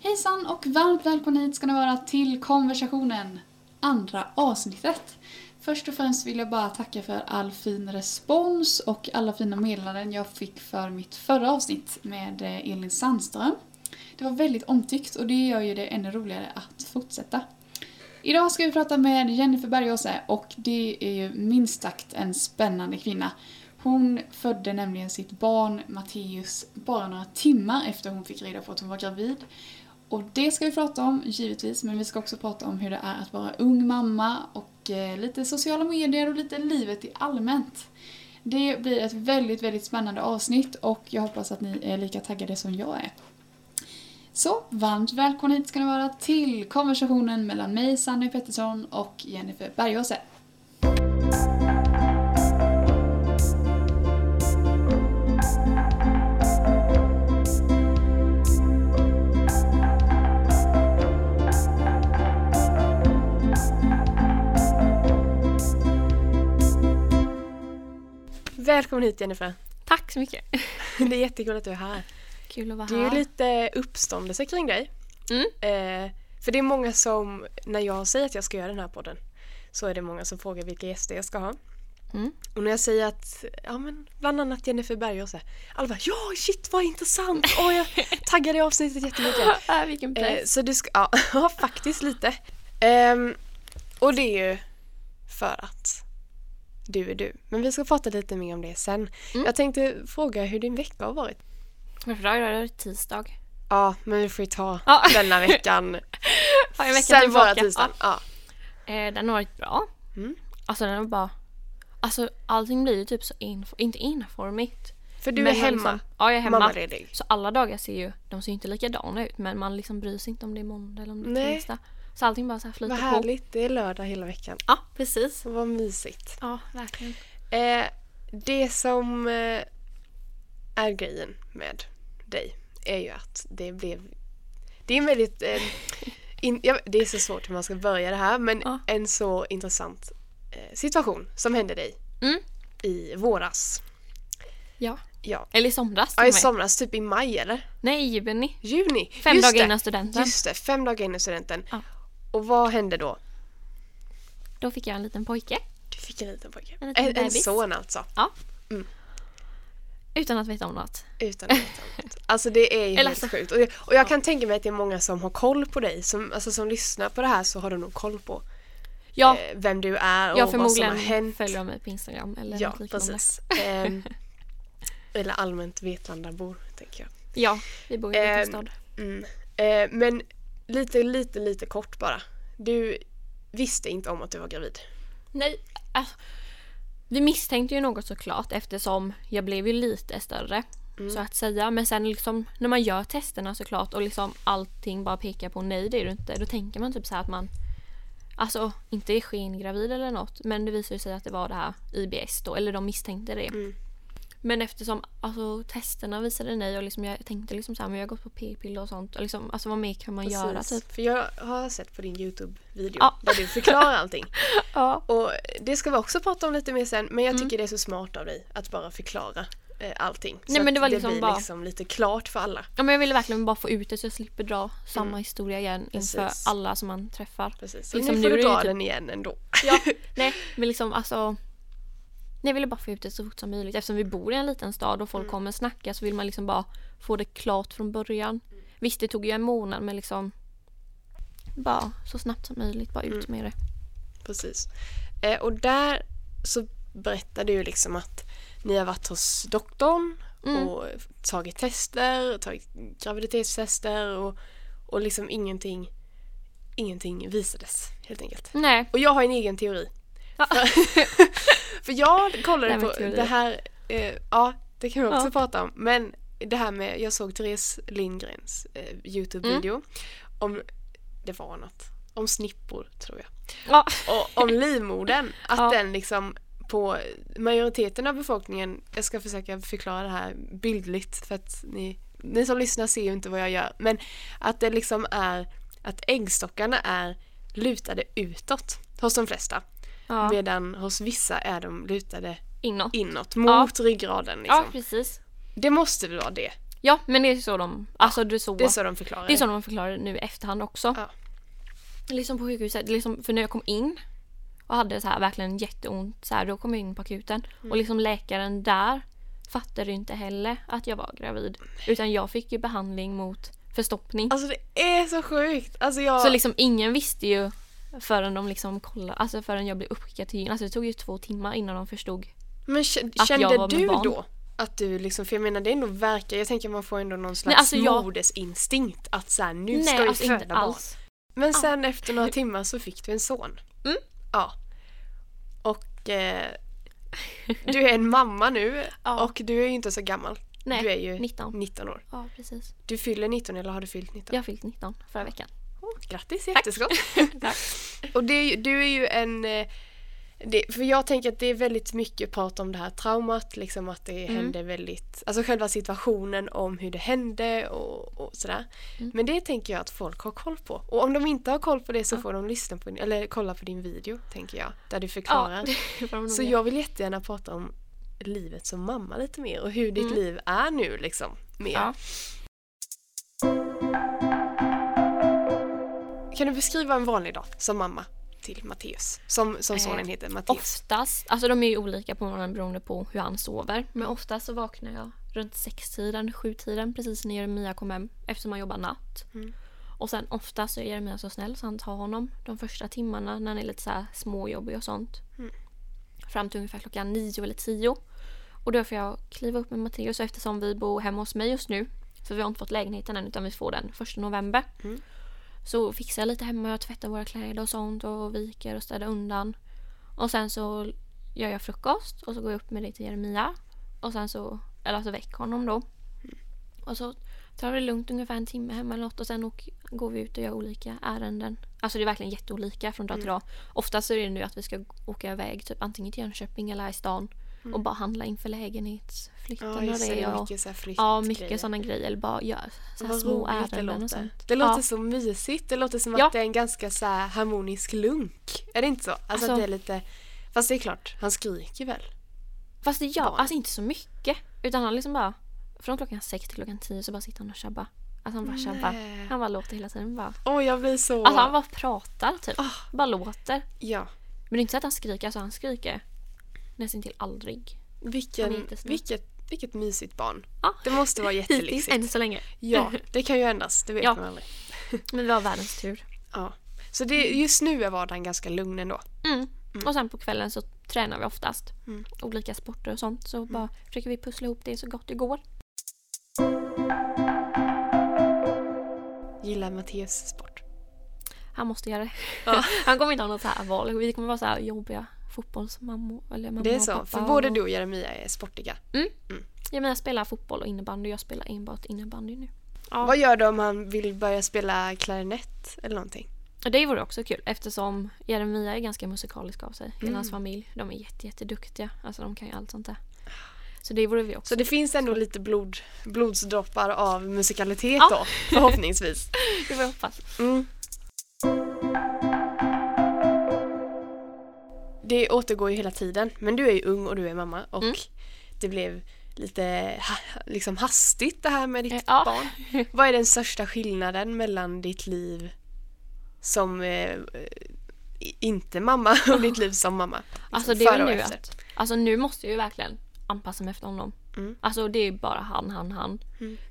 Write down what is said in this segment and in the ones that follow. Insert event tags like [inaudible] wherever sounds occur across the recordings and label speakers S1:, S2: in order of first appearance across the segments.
S1: Hejsan och varmt välkomna hit ska ni vara till konversationen, andra avsnittet. Först och främst vill jag bara tacka för all fin respons och alla fina meddelanden jag fick för mitt förra avsnitt med eh, Elin Sandström. Det var väldigt omtyckt och det gör ju det ännu roligare att fortsätta. Idag ska vi prata med Jennifer Bergåse och det är ju minst sagt en spännande kvinna. Hon födde nämligen sitt barn Matteus bara några timmar efter hon fick reda på att hon var gravid. Och det ska vi prata om, givetvis, men vi ska också prata om hur det är att vara ung mamma och eh, lite sociala medier och lite livet i allmänt. Det blir ett väldigt, väldigt spännande avsnitt och jag hoppas att ni är lika taggade som jag är. Så, varmt välkomna hit ska ni vara till konversationen mellan mig, Sanny Pettersson och Jennifer Bergåse.
S2: Välkommen hit Jennifer. [laughs]
S3: Tack så mycket.
S2: Det är jättekul att du är här.
S3: [laughs] Kul att vara
S2: Det är ju lite uppståndelse kring dig.
S3: Mm.
S2: Eh, för det är många som, när jag säger att jag ska göra den här podden, så är det många som frågar vilka gäster jag ska ha.
S3: Mm.
S2: Och när jag säger att, ja men bland annat Jennifer Bergåse, alla bara ja shit vad intressant, åh jag taggade i avsnittet jättemycket.
S3: äh, vilken
S2: Eh,
S3: press.
S2: så du ska, ja, [laughs] ja faktiskt lite. Ehm, och det är ju för att du är du. Men vi ska prata lite mer om det sen.
S3: Mm.
S2: Jag tänkte fråga hur din vecka har varit.
S3: Varför idag? Idag är det tisdag.
S2: Ja, men vi får ju ta [laughs]
S3: Ja.
S2: denna veckan.
S3: Ja, jag veckan
S2: sen bara
S3: tillbaka.
S2: tisdagen. Ja.
S3: Ja, eh, den har varit bra.
S2: Mm.
S3: Alltså den har bara... Alltså allting blir ju typ så info, inte enformigt.
S2: För du
S3: Men
S2: är
S3: man
S2: hemma,
S3: Liksom, ja, jag är hemma.
S2: mammaledig.
S3: Så alla dagar ser ju, de ser ju inte likadana ut men man liksom bryr sig inte om det är måndag eller om det är
S2: Nej.
S3: tisdag. Så allting bara så här
S2: Vad
S3: flyter på.
S2: härligt, det är lördag hela veckan.
S3: Ja, precis.
S2: Så vad mysigt.
S3: Ja, verkligen.
S2: Eh, det som eh, är grejen med dig är ju att det blev... Det är en väldigt...
S3: [laughs]
S2: Eh, in, ja, det är så svårt hur man ska börja det här men
S3: Ja.
S2: en så intressant eh, situation som hände dig
S3: Mm.
S2: i våras.
S3: Ja.
S2: Ja.
S3: Eller i somras till
S2: ja, i
S3: mig.
S2: somras, typ i maj eller?
S3: Nej, Benny.
S2: Juni?
S3: Fem
S2: Just
S3: dagar
S2: det.
S3: innan studenten.
S2: Just det, fem dagar innan studenten.
S3: Ja.
S2: Och vad hände då?
S3: Då fick jag en liten pojke.
S2: Du fick en liten pojke. En,
S3: En liten
S2: en,
S3: bebis.
S2: son alltså.
S3: Utan att veta om något.
S2: Utan att veta om det. Alltså det är ju
S3: Eller
S2: helt
S3: alltså-
S2: sjukt. Och jag, och jag kan tänka mig att det är många som har koll på dig. Som, alltså som lyssnar på det här så har de nog koll på
S3: Ja,
S2: eh, vem du är och
S3: jag
S2: vad som har
S3: förmodligen
S2: hänt.
S3: följer mig på Instagram eller
S2: Ja,
S3: något liknande.
S2: precis.
S3: [laughs]
S2: Ehm, eller allmänt Vetlandabor, tänker jag.
S3: Ja, vi bor i en liten
S2: Ehm,
S3: stad.
S2: Mm. Eh, men lite, lite, lite kort bara. Du visste inte om att du var gravid.
S3: Nej, alltså, vi misstänkte ju något såklart eftersom jag blev ju lite större.
S2: Mm.
S3: Så att säga. Men sen liksom när man gör testerna såklart och liksom allting bara pekar på nej det är du inte. Då tänker man typ så här att man Alltså inte är skengravid eller något men det visar ju sig att det var det här IBS då eller de misstänkte det.
S2: Mm.
S3: Men eftersom alltså, testerna visade nej och liksom, jag tänkte liksom så här, men jag har gått på p-piller och sånt. Och liksom, alltså vad mer kan man göra
S2: Precis.
S3: typ?
S2: För jag har sett på din Youtube-video
S3: Ja.
S2: där du förklarar
S3: [laughs]
S2: allting.
S3: Ja.
S2: Och det ska vi också prata om lite mer sen, men jag
S3: Mm.
S2: tycker det är så smart av dig att bara förklara eh, allting. Så
S3: Nej, men
S2: att
S3: det var liksom
S2: blir
S3: bara-
S2: liksom lite klart för alla.
S3: Ja, men jag ville verkligen bara få ut det så jag slipper dra samma historia igen inför
S2: Mm. Precis.
S3: alla som man träffar.
S2: Precis.
S3: Liksom,
S2: nu
S3: nu
S2: får
S3: är
S2: du
S3: det ju
S2: dra
S3: typ-
S2: den igen ändå.
S3: Ja, nej, men liksom alltså. Nej, jag ville bara få ut det så fort som möjligt eftersom vi bor i en liten stad och folk
S2: Mm.
S3: kommer snacka så vill man liksom bara få det klart från början.
S2: Mm.
S3: Visst, det tog ju en månad men liksom bara så snabbt som möjligt, bara ut
S2: Mm.
S3: med det.
S2: [laughs] Precis. Eh, och där så berättar du ju liksom att ni har varit hos doktorn
S3: Mm.
S2: och tagit tester, tagit graviditetstester och, och liksom ingenting, ingenting visades helt enkelt.
S3: Nej.
S2: Och jag har en egen teori.
S3: Ja.
S2: För jag kollade
S3: Nej, men
S2: på
S3: teorier.
S2: det här, eh, ja det kan vi också
S3: Ja.
S2: prata om, men det här med, jag såg Therese Lindgrens eh, Youtube-video om, det var något, om snippor tror jag.
S3: Ja.
S2: Och om livmodern, att
S3: Ja.
S2: den liksom på majoriteten av befolkningen, jag ska försöka förklara det här bildligt för att ni, ni som lyssnar ser ju inte vad jag gör, men att det liksom är att äggstockarna är lutade utåt hos de flesta.
S3: ja.
S2: Medan hos vissa är de lutade
S3: Inåt.
S2: inåt, mot ryggraden. Liksom.
S3: Ja, precis.
S2: Det måste väl vara det?
S3: Ja men det är så de, alltså det är så,
S2: Det är så de förklarar
S3: det är så de förklarar det nu i efterhand också.
S2: Ja.
S3: Liksom på sjukhuset, liksom, för när jag kom in och hade så här verkligen jätteont så här, då kom jag in på akuten
S2: Mm.
S3: och liksom läkaren där fattade ju inte heller att jag var gravid. Utan jag fick ju behandling mot förstoppning.
S2: Alltså det är så sjukt! Alltså jag...
S3: Så liksom ingen visste ju förrän de liksom kollade, alltså förrän jag blev uppskickad till gyn. Alltså det tog ju två timmar innan de förstod.
S2: men k-
S3: jag var
S2: kände
S3: med
S2: du
S3: barn.
S2: då att du liksom, för jag menar det ändå verkar, jag tänker man får ändå någon slags
S3: alltså jag-
S2: modersinstinkt att såhär nu ska
S3: Nej
S2: vi
S3: alltså
S2: föda
S3: inte
S2: barn.
S3: alls.
S2: Men sen efter några timmar så fick du en son.
S3: Mm.
S2: Ja. Och eh, du är en mamma nu
S3: Ja.
S2: och du är ju inte så gammal.
S3: Nej,
S2: du är ju
S3: 19.
S2: 19 år.
S3: Ja precis.
S2: Du fyller 19 eller har du fyllt 19?
S3: Jag fyllt 19 förra veckan.
S2: Grattis i efterskott!
S3: Tack.
S2: Och det, är ju- du är ju en... eh, Det, för jag tänker att det är väldigt mycket prat om det här traumat, liksom att det
S3: Mm.
S2: hände väldigt... Alltså själva situationen om hur det hände och, och sådär.
S3: Mm.
S2: Men det tänker jag att folk har koll på. Och om de inte har koll på det så får de lyssna på, din- eller kolla på din video, tänker jag, där du förklarar.
S3: [laughs] Ja, det [laughs] var de nog
S2: så
S3: med.
S2: jag vill jättegärna prata om livet som mamma lite mer och hur ditt liv är nu liksom. Mer.
S3: Mm. Ja.
S2: Kan du beskriva en vanlig dag som mamma till Matteus? Som, som
S3: Eh,
S2: sonen heter, Matteus.
S3: Oftast, alltså de är ju olika på morgonen beroende på hur han sover. Men oftast så vaknar jag runt sextiden, sjutiden precis när Jeremia kom hem eftersom han jobbar natt. Och sen oftast så är Jeremia så snäll så han tar honom de första timmarna när han är lite så här småjobbig och sånt. Fram till ungefär klockan nio eller tio. Och då får jag kliva upp med Matteus och eftersom vi bor hemma hos mig just nu för vi har inte fått lägenheten än utan vi får den första november. Så fixar jag lite hemma, jag tvättar våra kläder och sånt och viker och städar undan. Och sen så gör jag frukost och så går jag upp med det till Jeremia. Och sen så, eller alltså väcker honom då. Och så tar vi det lugnt ungefär en timme hemma eller något och sen åker, går vi ut och gör olika ärenden. Alltså det är verkligen jätteolika från
S2: Mm.
S3: dag till dag. Oftast så är det nu att vi ska åka iväg typ antingen till Jönköping eller här i stan och bara handla inför lägenhetsflytten
S2: Mm. Ja,
S3: och
S2: just det.
S3: det.
S2: det är
S3: Och,
S2: Mycket så här flytt
S3: ja, mycket
S2: grejer.
S3: sådana grejer. Eller bara gör så här
S2: Vad
S3: små
S2: roligt det
S3: ärenden
S2: låter.
S3: och sånt.
S2: Det
S3: Ja.
S2: låter så mysigt. Det låter som
S3: Ja.
S2: att det är en ganska så här harmonisk lunk. Är det inte så? Alltså,
S3: Alltså-
S2: att det är lite... Fast det är klart, han skriker väl?
S3: Fast det gör alltså inte så mycket. Utan han liksom bara... Från klockan sex till klockan tio så bara sitter han och tjabbar. Alltså han bara tjabbar. Han bara låter hela tiden. Bara.
S2: Åh, Ah. jag blir så...
S3: Alltså han bara pratar typ. Bara låter.
S2: Ja.
S3: Men det är inte så att han skriker. Alltså han skriker nästan till aldrig. Han är
S2: Vilken,
S3: jättesnäll.
S2: vilket, vilket mysigt barn.
S3: Ja.
S2: Ah, Det måste vara
S3: [laughs] Hittills,
S2: jättelyxigt.
S3: än så länge. [laughs]
S2: Ja, det kan ju ändras. Det vet
S3: Ja.
S2: man aldrig.
S3: Men vi har världens tur.
S2: Ja. Så det, just nu är vardagen ganska lugn ändå.
S3: Mm. Och sen på kvällen så tränar vi oftast.
S2: Mm.
S3: Olika sporter och sånt. Så bara försöker vi pussla ihop det så gott det går.
S2: Gillar Matteus sport?
S3: Han måste göra det.
S2: Ah.
S3: [laughs] han kommer inte ha något så här val. Vi kommer vara så här jobbiga fotbollsmammor. Eller mamma
S2: Det är
S3: och
S2: så.
S3: pappa
S2: För både
S3: och...
S2: du och Jeremia är sportiga.
S3: Mm.
S2: Mm.
S3: Ja, men jag spelar fotboll och innebandy. Jag spelar enbart innebandy nu. Ja.
S2: Vad gör du om han vill börja spela klarinett eller någonting?
S3: Och det vore också kul eftersom Jeremia är ganska musikalisk av sig. Hela
S2: Mm.
S3: hans familj. De är jätte, jätteduktiga. Alltså de kan ju allt sånt där. Så det vore vi också.
S2: Så det finns ändå lite blod, blodsdroppar av musikalitet
S3: Ja.
S2: då, förhoppningsvis.
S3: Det får jag hoppas.
S2: Mm. Det återgår ju hela tiden, men du är ju ung och du är mamma och
S3: Mm.
S2: det blev lite ha- liksom hastigt det här med ditt
S3: Eh, Ja.
S2: barn.
S3: [laughs]
S2: Vad är den största skillnaden mellan ditt liv som eh, eh, i- inte mamma och ditt liv som mamma?
S3: Alltså det
S2: Liksom
S3: är
S2: före och
S3: väl nu
S2: efter.
S3: att, alltså nu måste jag ju verkligen anpassa mig efter honom.
S2: Mm.
S3: Alltså det är bara han, han, han.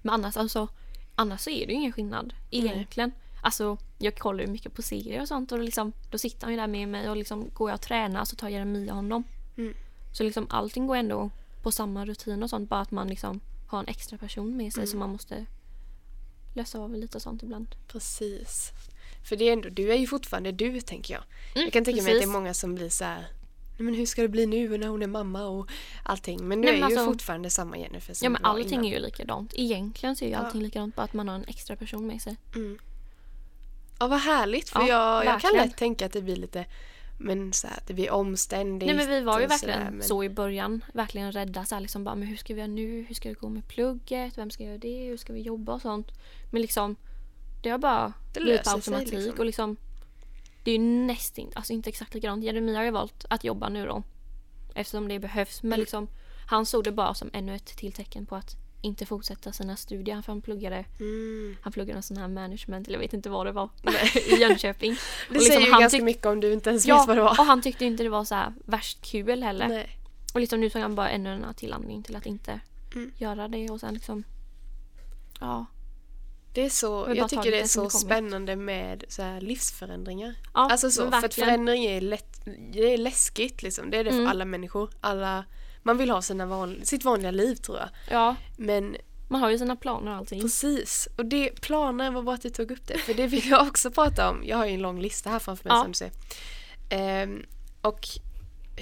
S3: Men annars alltså, annars så är det ju ingen skillnad egentligen. Alltså jag kollar ju mycket på serier och sånt och liksom, då sitter han ju där med mig och liksom går jag och tränar så tar Jeremia honom.
S2: Mm.
S3: Så liksom allting går ändå på samma rutin och sånt bara att man liksom har en extra person med sig
S2: Mm.
S3: som man måste lösa av lite och sånt ibland.
S2: Precis. För det är ändå, du är ju fortfarande du tänker jag. jag kan tänka mig att det
S3: Mm, precis.
S2: är många som blir så här. "Nej, Men hur ska det bli nu när hon är mamma och allting. Men du
S3: Nej,
S2: är
S3: men
S2: ju
S3: alltså-
S2: fortfarande samma Jennifer som
S3: Ja men
S2: du var
S3: allting
S2: Mm, innan.
S3: är ju likadant. Egentligen så är ju allting likadant bara att man har en extra person med sig.
S2: Ja vad härligt för
S3: Ja,
S2: jag, jag kan
S3: verkligen.
S2: lätt tänka att det blir lite men så här, att det blir omständigt.
S3: Nej men vi var ju
S2: och så där,
S3: verkligen så,
S2: eh, men-
S3: i början. Verkligen rädda så här, liksom bara, men hur ska vi göra nu? Hur ska det gå med plugget? Vem ska göra det? Hur ska vi jobba och sånt? Men liksom det har bara
S2: Det
S3: blivit på
S2: löser sig,
S3: automatik
S2: liksom.
S3: och liksom det är ju nästan, alltså inte exakt likadant. Jeremia har ju valt att
S2: Mm.
S3: jobba nu då eftersom det behövs men liksom han såg det bara som ännu ett till tecken på att inte fortsätta sina studier för han pluggade,
S2: Mm.
S3: han pluggade någon sån här management, eller jag vet inte vad det var, [laughs] i Jönköping.
S2: Det
S3: liksom,
S2: säger ju
S3: han
S2: ganska
S3: tyck-
S2: mycket om du inte ens
S3: Ja,
S2: vet vad det var.
S3: och han tyckte inte det var så här värst kul heller.
S2: Nej.
S3: Och liksom nu tog han bara ännu en till anledning till att inte
S2: Mm.
S3: göra det och sen liksom Ja,
S2: Det är så,
S3: Vi bara
S2: jag
S3: tar
S2: tycker
S3: det
S2: det är
S3: som
S2: så
S3: det kommer.
S2: spännande med så här livsförändringar.
S3: ja
S2: alltså så,
S3: men
S2: för att
S3: verkligen.
S2: förändring är, lätt, det är läskigt liksom. Det är det för
S3: Mm.
S2: alla människor. Alla, man vill ha sina van, sitt vanliga liv tror jag.
S3: Ja,
S2: Men
S3: man har ju sina planer och allting.
S2: precis, och det planer var bra att du tog upp det. För det vill jag också prata om. Jag har ju en lång lista här framför mig
S3: Ja.
S2: som du ser. Ehm, och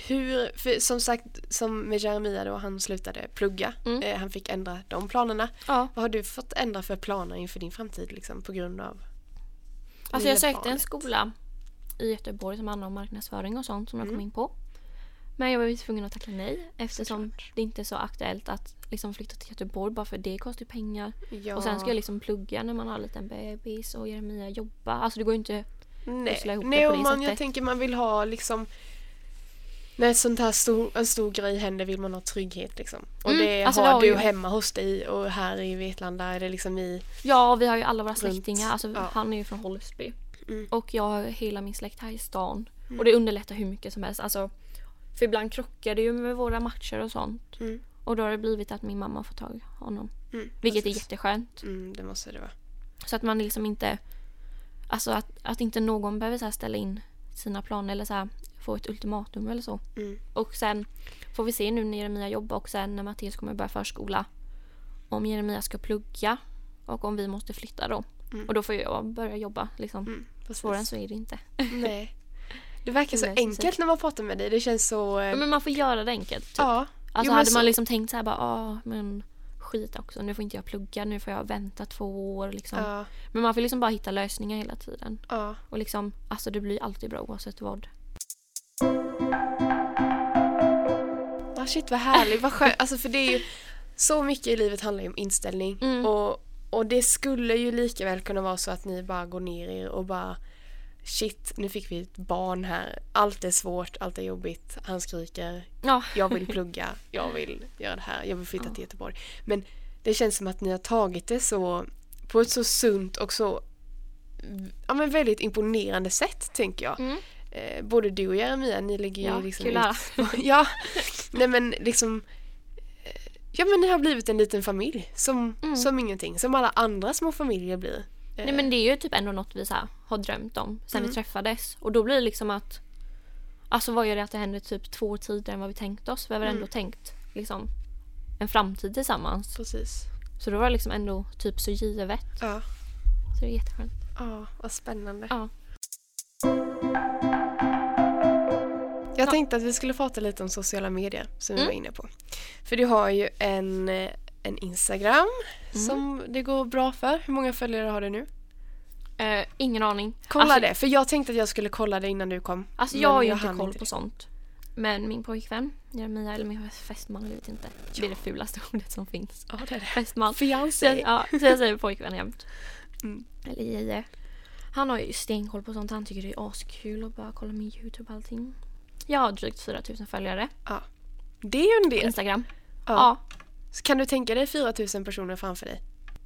S2: hur, för som sagt, som med Jeremia då, han slutade plugga.
S3: Mm.
S2: Eh, han fick ändra de planerna.
S3: Ja.
S2: Vad har du fått ändra för planer inför din framtid liksom, på grund av
S3: Alltså
S2: lilla
S3: jag sökte en
S2: barnet?
S3: skola i Göteborg som handlar om marknadsföring och sånt som jag kom in på. Men jag var ju tvungen att tacka nej eftersom det inte är så aktuellt att liksom flytta till Göteborg bara för det kostar ju pengar.
S2: Ja.
S3: Och sen ska jag liksom plugga när man har en liten bebis och Jeremia jobba. Alltså det går ju inte... pussla
S2: Nej,
S3: ihop det
S2: Nej
S3: på
S2: och
S3: det
S2: man, jag
S3: sättet.
S2: tänker man vill ha liksom när ett sånt här stor, en stor grej händer vill man ha trygghet liksom. Och
S3: Mm,
S2: det
S3: alltså, det
S2: har
S3: har
S2: du
S3: ju-
S2: hemma hos dig och här i Vetlanda är det liksom i...
S3: Ja, och vi har ju alla våra
S2: Runt.
S3: släktingar. Alltså
S2: Ja.
S3: han är ju från Hållsby.
S2: Mm.
S3: Och jag har hela min släkt här i stan. Och det underlättar hur mycket som helst. Alltså, för ibland krockar det ju med våra matcher och sånt.
S2: Mm.
S3: Och då har det blivit att min mamma får tag i honom.
S2: Mm,
S3: Vilket
S2: precis.
S3: är jätteskönt.
S2: Mm, det måste det vara.
S3: Så att man liksom inte... Alltså att, att inte någon behöver så här ställa in sina planer eller så här, få ett ultimatum eller så.
S2: Mm.
S3: Och sen får vi se nu när Jeremia jobbar och sen när Mattias kommer börja förskola om Jeremia ska plugga och om vi måste flytta då.
S2: Mm.
S3: Och då får jag börja jobba liksom.
S2: Mm, precis.
S3: Svårare än så är det inte.
S2: Nej. Det verkar så
S3: Det är så
S2: enkelt när man pratar med dig. Det känns så... eh,
S3: Ja, Men man får göra det enkelt. Typ.
S2: ja.
S3: Alltså
S2: Jo, men
S3: hade
S2: så-
S3: man liksom tänkt så här bara ah men skit också nu får inte jag plugga nu får jag vänta två år liksom.
S2: Ja,
S3: Men man får liksom bara hitta lösningar hela tiden.
S2: ja.
S3: Och liksom, alltså det blir alltid bra oavsett vad.
S2: Ah, shit vad härligt, vad skönt. Alltså för det är ju så mycket i livet handlar ju om inställning.
S3: Mm.
S2: Och, och det skulle ju lika väl kunna vara så att ni bara går ner er och bara shit, nu fick vi ett barn här. Allt är svårt, allt är jobbigt, han skriker,
S3: Ja.
S2: jag vill plugga, [laughs] jag vill göra det här, jag vill flytta till Göteborg. Men det känns som att ni har tagit det så på ett så sunt och så ja, men väldigt imponerande sätt tänker jag.
S3: Mm.
S2: Eh, både du och Jeremia, ni lägger
S3: Ja,
S2: ju liksom
S3: kul
S2: ut
S3: att höra.
S2: [laughs] ja, nej men liksom eh, Ja men det har blivit en liten familj som,
S3: Mm.
S2: som ingenting, som alla andra små familjer blir. Eh,
S3: Nej men det är ju typ ändå något vi så här, har drömt om sen vi träffades. Och då blir det liksom att... Alltså vad gör det att det händer typ två år tidigare än vad vi tänkt oss? Vi har väl ändå tänkt liksom en framtid tillsammans.
S2: Eh, Precis.
S3: Så då var det liksom ändå typ så givet.
S2: Ja.
S3: Så det är jätteskönt.
S2: ja, vad spännande.
S3: Ja.
S2: Jag
S3: Ja.
S2: tänkte att vi skulle prata lite om sociala medier som vi
S3: Mm.
S2: var inne på. För du har ju en, eh, en Instagram
S3: Mm.
S2: som det går bra för. Hur många följare har du nu?
S3: Eh, ingen aning.
S2: Kolla
S3: alltså,
S2: det, för jag tänkte att jag skulle kolla det innan du kom.
S3: Alltså
S2: men
S3: jag har ju inte
S2: hann
S3: koll
S2: inte
S3: på
S2: det.
S3: sånt. Men min pojkvän Jeremia, eller min fästman, jag vet inte. Det är det fulaste [laughs] ordet som finns.
S2: Ja, det är det.
S3: Fästman. Så jag,
S2: Fiancé.
S3: ja, så jag säger pojkvän jämt.
S2: [laughs] Mm.
S3: Eller JJ. Han har ju stenkoll på sånt. Han tycker det är askul att bara kolla min YouTube och allting. Jag har drygt 4000 följare
S2: Det är ju en
S3: på
S2: del.
S3: Instagram.
S2: Ja.
S3: Ja.
S2: Så kan du tänka dig 4000 personer framför dig?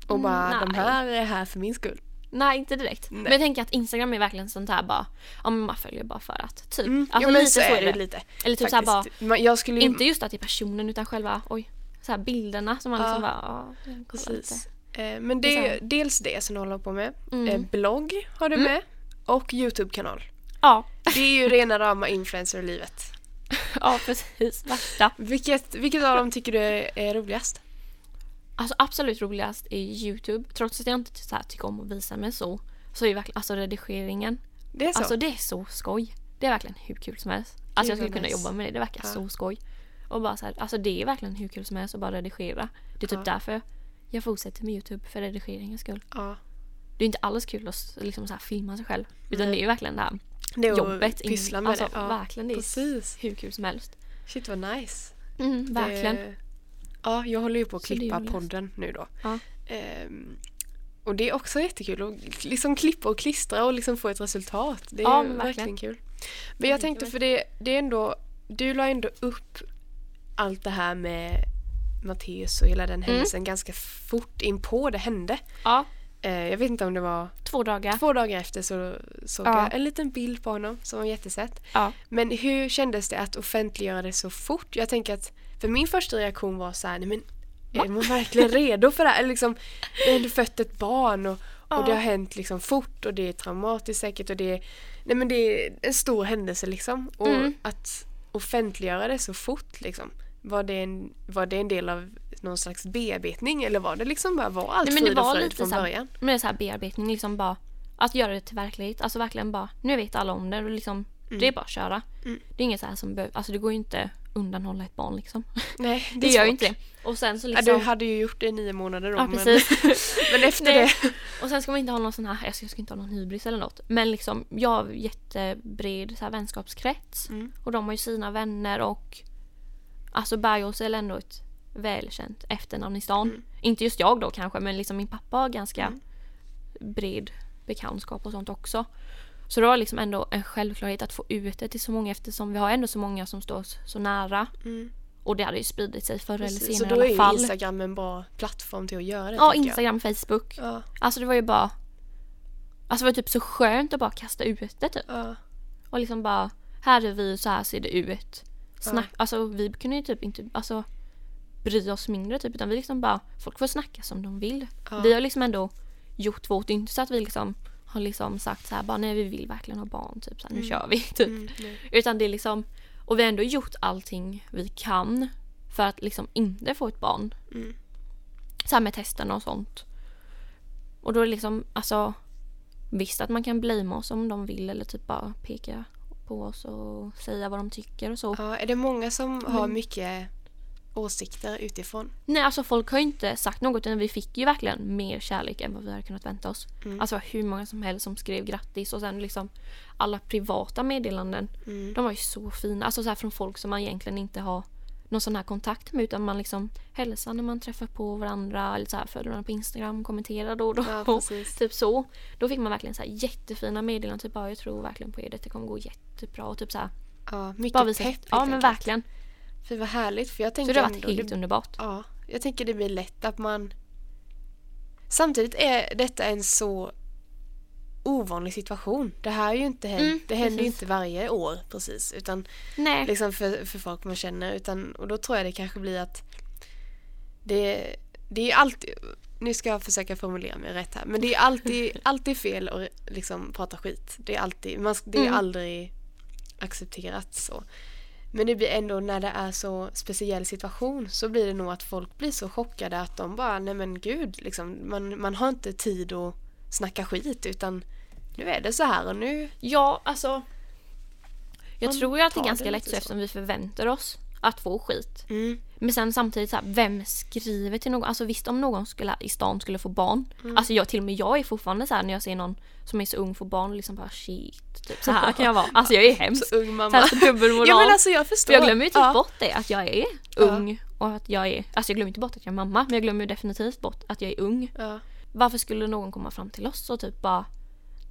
S2: Och bara,
S3: Mm, nej.
S2: de här är här för min skull.
S3: Nej, inte direkt. Men jag tänker att Instagram är verkligen sånt här bara, ja men man följer bara för att. Typ. Alltså
S2: Mm. jo, men
S3: lite så är det.
S2: lite.
S3: Eller typ såhär
S2: faktiskt. Mm.
S3: bara,
S2: Man- jag skulle ju...
S3: inte just att det är personen utan själva, oj, så här bilderna som man
S2: Ja.
S3: liksom bara, ja, kolla lite.
S2: Precis. Eh, Men det är ju dels det som du håller på med.
S3: Mm.
S2: Eh, Blogg har du med. Och YouTube-kanal. [laughs]
S3: Ja,
S2: Det är
S3: [laughs]
S2: ju rena rama influencer-livet.
S3: ja precis. Värsta.
S2: Vilket, vilket av dem tycker du är, är roligast?
S3: Alltså absolut roligast är Youtube. Trots att jag inte så här, tycker om att visa mig så. Så är verkligen, alltså redigeringen.
S2: Det är så?
S3: Alltså det är så skoj. Det är verkligen hur kul som helst. Alltså jag
S2: Gud, vad
S3: skulle kunna
S2: nice.
S3: jobba med det. Det verkar
S2: Ja.
S3: så skoj. Och bara så här, alltså det är verkligen hur kul som helst att bara redigera. Det är typ
S2: Ja.
S3: därför jag fortsätter med Youtube för redigeringens skull.
S2: ja.
S3: Det är inte alls kul att s- liksom så här filma sig själv. Utan
S2: Nej.
S3: det är ju verkligen det här
S2: Det är att
S3: jobbet. in-
S2: pyssla med
S3: alltså,
S2: det. Ja.
S3: Verkligen, det är
S2: Precis.
S3: hur kul som helst.
S2: Shit vad nice.
S3: Mm, verkligen.
S2: Det- Eh, Ja, jag håller ju på att
S3: Så det är
S2: klippa
S3: roligast.
S2: podden nu då.
S3: Ja.
S2: Ehm, och det är också jättekul att liksom klippa och klistra och liksom få ett resultat. Det är
S3: Ja,
S2: ju
S3: men
S2: verkligen
S3: verkligen.
S2: kul. Men jag
S3: tänker
S2: tänkte för det, det är ändå, du la ändå upp allt det här med Matteus och hela den
S3: Mm.
S2: händelsen ganska fort in på det hände.
S3: Ja,
S2: Eh, jag vet inte om det var
S3: två dagar.
S2: två dagar efter så såg
S3: Ja.
S2: jag en liten bild på honom som var jättesöt.
S3: Ja.
S2: Men hur kändes det att offentliggöra det så fort? Jag tänker att, för min första reaktion var så här, nej men är man verkligen redo för det här? Eller liksom, det har ändå fött ett barn och, och det har hänt liksom fort och det är traumatiskt säkert och det är, nej men det är en stor händelse liksom. Och
S3: Mm.
S2: att offentliggöra det så fort liksom. Var det, en, var det en del av någon slags bearbetning eller var det liksom bara var allt
S3: Nej, men det
S2: frid och
S3: var
S2: fröjd
S3: lite
S2: från
S3: så här-
S2: början?
S3: Men det är så här bearbetning, liksom bara att göra det till verklighet. Alltså verkligen bara, nu vet alla om det och liksom,
S2: Mm.
S3: det är bara att köra. Det är inget så här som behöver, alltså det går ju inte att undanhålla ett barn liksom.
S2: Nej,
S3: Det,
S2: är
S3: gör
S2: svårt.
S3: ju inte det. Och sen så
S2: Ja,
S3: liksom...
S2: du hade ju gjort det i nio månader då.
S3: Ja,
S2: men-
S3: precis.
S2: [laughs] Men efter
S3: Nej.
S2: det.
S3: Och sen ska man inte ha någon sån här, jag ska, jag ska inte ha någon hybris eller något. Men liksom, jag har jättebred så här, vänskapskrets.
S2: Mm.
S3: Och de har ju sina vänner och alltså Bergås är väl ändå ett välkänt efternamn i stan.
S2: Mm.
S3: Inte just jag då kanske, men liksom min pappa har ganska bred bekantskap och sånt också. Så det var liksom ändå en självklarhet att få ut det till så många eftersom vi har ändå så många som står oss så nära.
S2: Mm.
S3: Och det hade ju spridit sig förr eller senare
S2: Så
S3: i
S2: då är
S3: alla
S2: ju
S3: fall.
S2: Instagram en bra plattform till att göra det.
S3: ja,
S2: tänker jag.
S3: Instagram, Facebook.
S2: Ja,
S3: Alltså det var ju bara... Alltså det var typ så skönt att bara kasta ut det typ.
S2: ja.
S3: Och liksom bara, här är vi, så här ser det ut. Snack, Alltså vi kunde ju typ inte alltså, bry oss mindre typ. Utan vi liksom bara, folk får snacka som de vill.
S2: Ja.
S3: Vi har liksom ändå gjort vårt, det är inte så att vi liksom har liksom sagt så här bara nej vi vill verkligen ha barn typ så här, nu kör vi [laughs] typ.
S2: Mm, nej.
S3: Utan det är liksom, och vi har ändå gjort allting vi kan för att liksom inte få ett barn.
S2: Mm.
S3: Så här med testerna och sånt. Och då är det liksom, alltså visst att man kan blamea oss om de vill eller typ bara peka på oss och säga vad de tycker och så.
S2: ja. Är det många som
S3: Mm.
S2: har mycket åsikter utifrån?
S3: Nej alltså folk har ju inte sagt något utan vi fick ju verkligen mer kärlek än vad vi hade kunnat vänta oss.
S2: Mm.
S3: Alltså hur många som helst som skrev grattis och sen liksom alla privata meddelanden.
S2: Mm.
S3: De var ju så fina. Alltså så här från folk som man egentligen inte har någon sån här kontakt med utan man liksom hälsar när man träffar på varandra eller så här följer varandra på Instagram, kommenterar då och då. [laughs]
S2: Ja, precis.
S3: typ så. Då fick man verkligen så här jättefina meddelanden. Typ bara jag tror verkligen på er, det kommer gå jättebra. Och typ så här.
S2: Ja, mycket
S3: Bara
S2: pepp.
S3: visa.
S2: helt
S3: Ja men
S2: enkelt.
S3: verkligen.
S2: För vad härligt. För jag
S3: Så
S2: tänker
S3: det har varit
S2: ändå-
S3: helt underbart.
S2: Ja, jag tänker det blir lätt att man... Samtidigt är detta en så ovanlig situation. Det här är ju inte hänt,
S3: Mm,
S2: det händer ju
S3: precis.
S2: inte varje år precis. Utan
S3: Nej.
S2: [laughs] liksom för, för folk man känner. Utan, och då tror jag det kanske blir att det, det är ju alltid, nu ska jag försöka formulera mig rätt här, men det är
S3: [laughs]
S2: alltid, alltid fel att liksom prata skit. Det är, alltid, man, det är
S3: Mm.
S2: aldrig accepterat så. Men det blir ändå när det är så speciell situation så blir det nog att folk blir så chockade att de bara, nej men gud, liksom, man, man har inte tid att snacka skit utan nu är det så här och nu,
S3: Ja, alltså. Jag
S2: Man
S3: tror ju att det är
S2: tar
S3: ganska
S2: det
S3: lätt
S2: lite
S3: så
S2: så.
S3: eftersom vi förväntar oss att få skit.
S2: mm,
S3: Men sen samtidigt så här, vem skriver till någon? Alltså visst om någon skulle, i stan skulle få barn.
S2: Mm.
S3: Alltså jag, till och med jag är fortfarande så här när jag ser någon som är så ung får barn liksom bara shit. Typ så här kan jag vara. Alltså jag är hemsk.
S2: så ung
S3: Så
S2: mamma.
S3: här, så
S2: [laughs]
S3: dubbelmoral.
S2: Ja men alltså jag
S3: För
S2: förstår.
S3: jag glömmer ju typ
S2: Ja.
S3: bort det att jag är ung. Och att jag är, alltså jag glömmer inte bort att jag är mamma men jag glömmer ju definitivt bort att jag är ung.
S2: Ja.
S3: Varför skulle någon komma fram till oss och typ bara